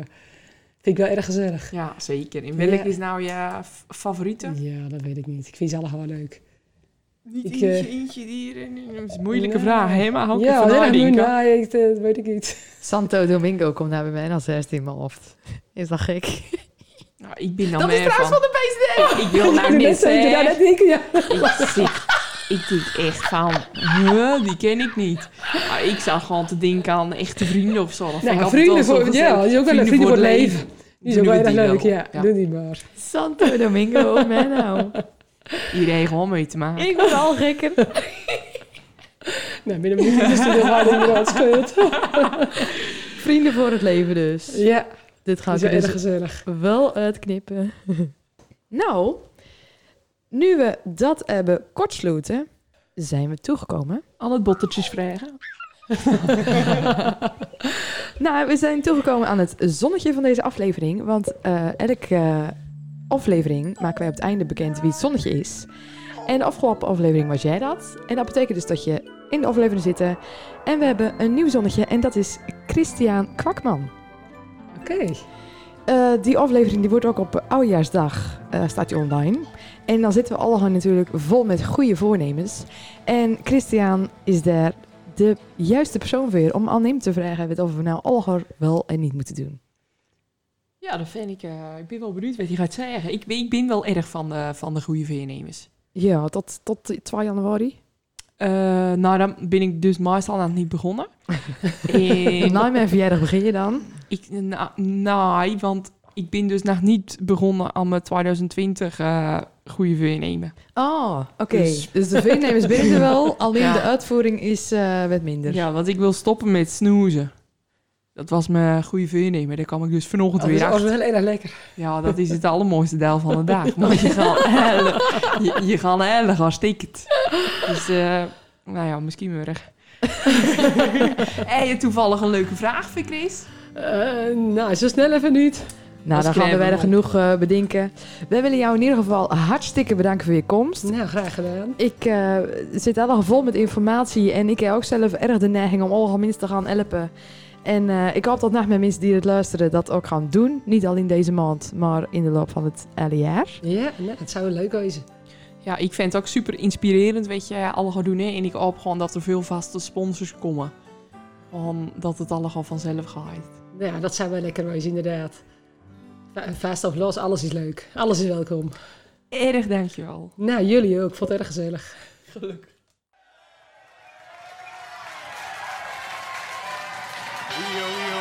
[SPEAKER 3] Vind ik wel erg gezellig.
[SPEAKER 2] Ja, zeker. En welk
[SPEAKER 3] Ja.
[SPEAKER 2] is nou je f- favoriete?
[SPEAKER 3] Ja, dat weet ik niet. Ik vind ze allemaal wel leuk.
[SPEAKER 2] Niet
[SPEAKER 3] Ik, eh,
[SPEAKER 2] eentje dieren. Dat is een moeilijke
[SPEAKER 3] Ja.
[SPEAKER 2] vraag, hè? Maar ook
[SPEAKER 3] ja,
[SPEAKER 2] even
[SPEAKER 3] erg
[SPEAKER 2] nadenken.
[SPEAKER 3] moeilijk. Nee, ik, eh, dat weet ik niet.
[SPEAKER 1] Santo Domingo komt nou bij mij als eerste in mijn hoofd. Is dat gek?
[SPEAKER 2] Nou, ik ben dan
[SPEAKER 1] dat is
[SPEAKER 2] meer
[SPEAKER 1] trouwens van de PSD!
[SPEAKER 2] Ik wil
[SPEAKER 3] Ja,
[SPEAKER 2] nou niet
[SPEAKER 3] mensen
[SPEAKER 2] zeggen.
[SPEAKER 3] denken daar net niet, ja.
[SPEAKER 2] Ik, zit, ik denk echt van, huh, die ken ik niet. Maar ik zou gewoon te denken aan echte vrienden of zo. Dat vind
[SPEAKER 3] Nou,
[SPEAKER 2] ik altijd
[SPEAKER 3] vrienden
[SPEAKER 2] wel zo
[SPEAKER 3] voor-
[SPEAKER 2] gezellig.
[SPEAKER 3] ja, die is ook wel een vrienden voor het leven. Die is ook
[SPEAKER 2] Doen
[SPEAKER 3] wel
[SPEAKER 2] we
[SPEAKER 3] erg leuk,
[SPEAKER 2] wel.
[SPEAKER 3] ja. Doe die maar.
[SPEAKER 1] Santo Domingo, man nou.
[SPEAKER 2] Iedereen gewoon mee te maken.
[SPEAKER 1] Ik word al gekker.
[SPEAKER 3] Nou, binnen een minuut is het heel hard inderdaad scheelt.
[SPEAKER 1] Vrienden voor het leven dus.
[SPEAKER 3] Ja,
[SPEAKER 1] Dit
[SPEAKER 3] dat
[SPEAKER 1] gaat
[SPEAKER 3] is wel
[SPEAKER 1] er
[SPEAKER 3] erg
[SPEAKER 1] dus
[SPEAKER 3] gezellig.
[SPEAKER 1] wel uitknippen. nou, nu we dat hebben kortsloten, zijn we toegekomen.
[SPEAKER 2] Al het bottertjes vragen.
[SPEAKER 1] Nou, we zijn toegekomen aan het zonnetje van deze aflevering. Want eh, elke eh, aflevering maken wij op het einde bekend wie het zonnetje is. En de afgelopen aflevering was jij dat. En dat betekent dus dat je in de aflevering zit. En we hebben een nieuw zonnetje en dat is Christian Kwakman.
[SPEAKER 3] Oké.
[SPEAKER 1] Eh, die aflevering die wordt ook op oudjaarsdag eh, staat die online. En dan zitten we allemaal natuurlijk vol met goede voornemens. En Christian is daar de juiste persoon weer om aan hem te vragen weet of we nou allemaal wel en niet moeten doen.
[SPEAKER 2] Ja, dat vind ik... eh, ik ben wel benieuwd wat hij gaat zeggen. Ik, ben- ik ben wel erg van de, van de goede veernemers.
[SPEAKER 1] Ja, tot, tot 2 januari.
[SPEAKER 2] Eh, nou, dan ben ik dus meestal aan het niet begonnen. en
[SPEAKER 3] Nou.
[SPEAKER 1] Na mijn verjaardag begin je dan.
[SPEAKER 2] Ik, na- nee, want ik ben dus nog niet begonnen aan mijn 2020 eh goede voornemen.
[SPEAKER 1] Oh, oké. Dus.
[SPEAKER 2] Dus-
[SPEAKER 1] de voornemens binnen er wel, alleen
[SPEAKER 2] Ja.
[SPEAKER 1] de uitvoering is eh, wat minder.
[SPEAKER 2] Ja, want ik wil stoppen met snoezen. Dat was mijn goede voornemen. Daar kwam ik dus vanochtend
[SPEAKER 3] Dat
[SPEAKER 2] weer
[SPEAKER 3] is Oh, dat is
[SPEAKER 2] achter.
[SPEAKER 3] wel erg lekker.
[SPEAKER 2] Ja, dat is het allermooiste deel van de dag. Want je gaat heel- je, je gaat heilig als ticket. Dus, eh, nou ja, misschien morgen. en je toevallig een leuke vraag voor Chris?
[SPEAKER 3] Eh, nou, zo snel even niet.
[SPEAKER 1] nou,
[SPEAKER 2] Als
[SPEAKER 1] dan gaan we
[SPEAKER 2] klein
[SPEAKER 1] verder
[SPEAKER 2] belang.
[SPEAKER 1] genoeg eh, bedenken. Wij willen jou in ieder geval hartstikke bedanken voor je komst.
[SPEAKER 3] Nou, graag gedaan.
[SPEAKER 1] Ik eh, zit helemaal vol met informatie en ik heb ook zelf erg de neiging om allemaal mensen te gaan helpen. En eh, ik hoop dat nog meer mensen die het luisteren dat ook gaan doen. Niet alleen deze maand, maar in de loop van het hele jaar.
[SPEAKER 3] Ja, nou, het zou leuk wezen.
[SPEAKER 2] Ja, ik vind het ook super inspirerend wat je allemaal gaat doen. Hè? En ik hoop gewoon dat er veel vaste sponsors komen. Gewoon dat het allemaal vanzelf gaat.
[SPEAKER 3] Nou Ja, dat zou wel lekker wezen, inderdaad. Va- Vast of los, alles is leuk. Alles is welkom.
[SPEAKER 2] Erg dankjewel.
[SPEAKER 3] Nou, jullie ook. Ik vond het erg gezellig.
[SPEAKER 5] Rio, Rio,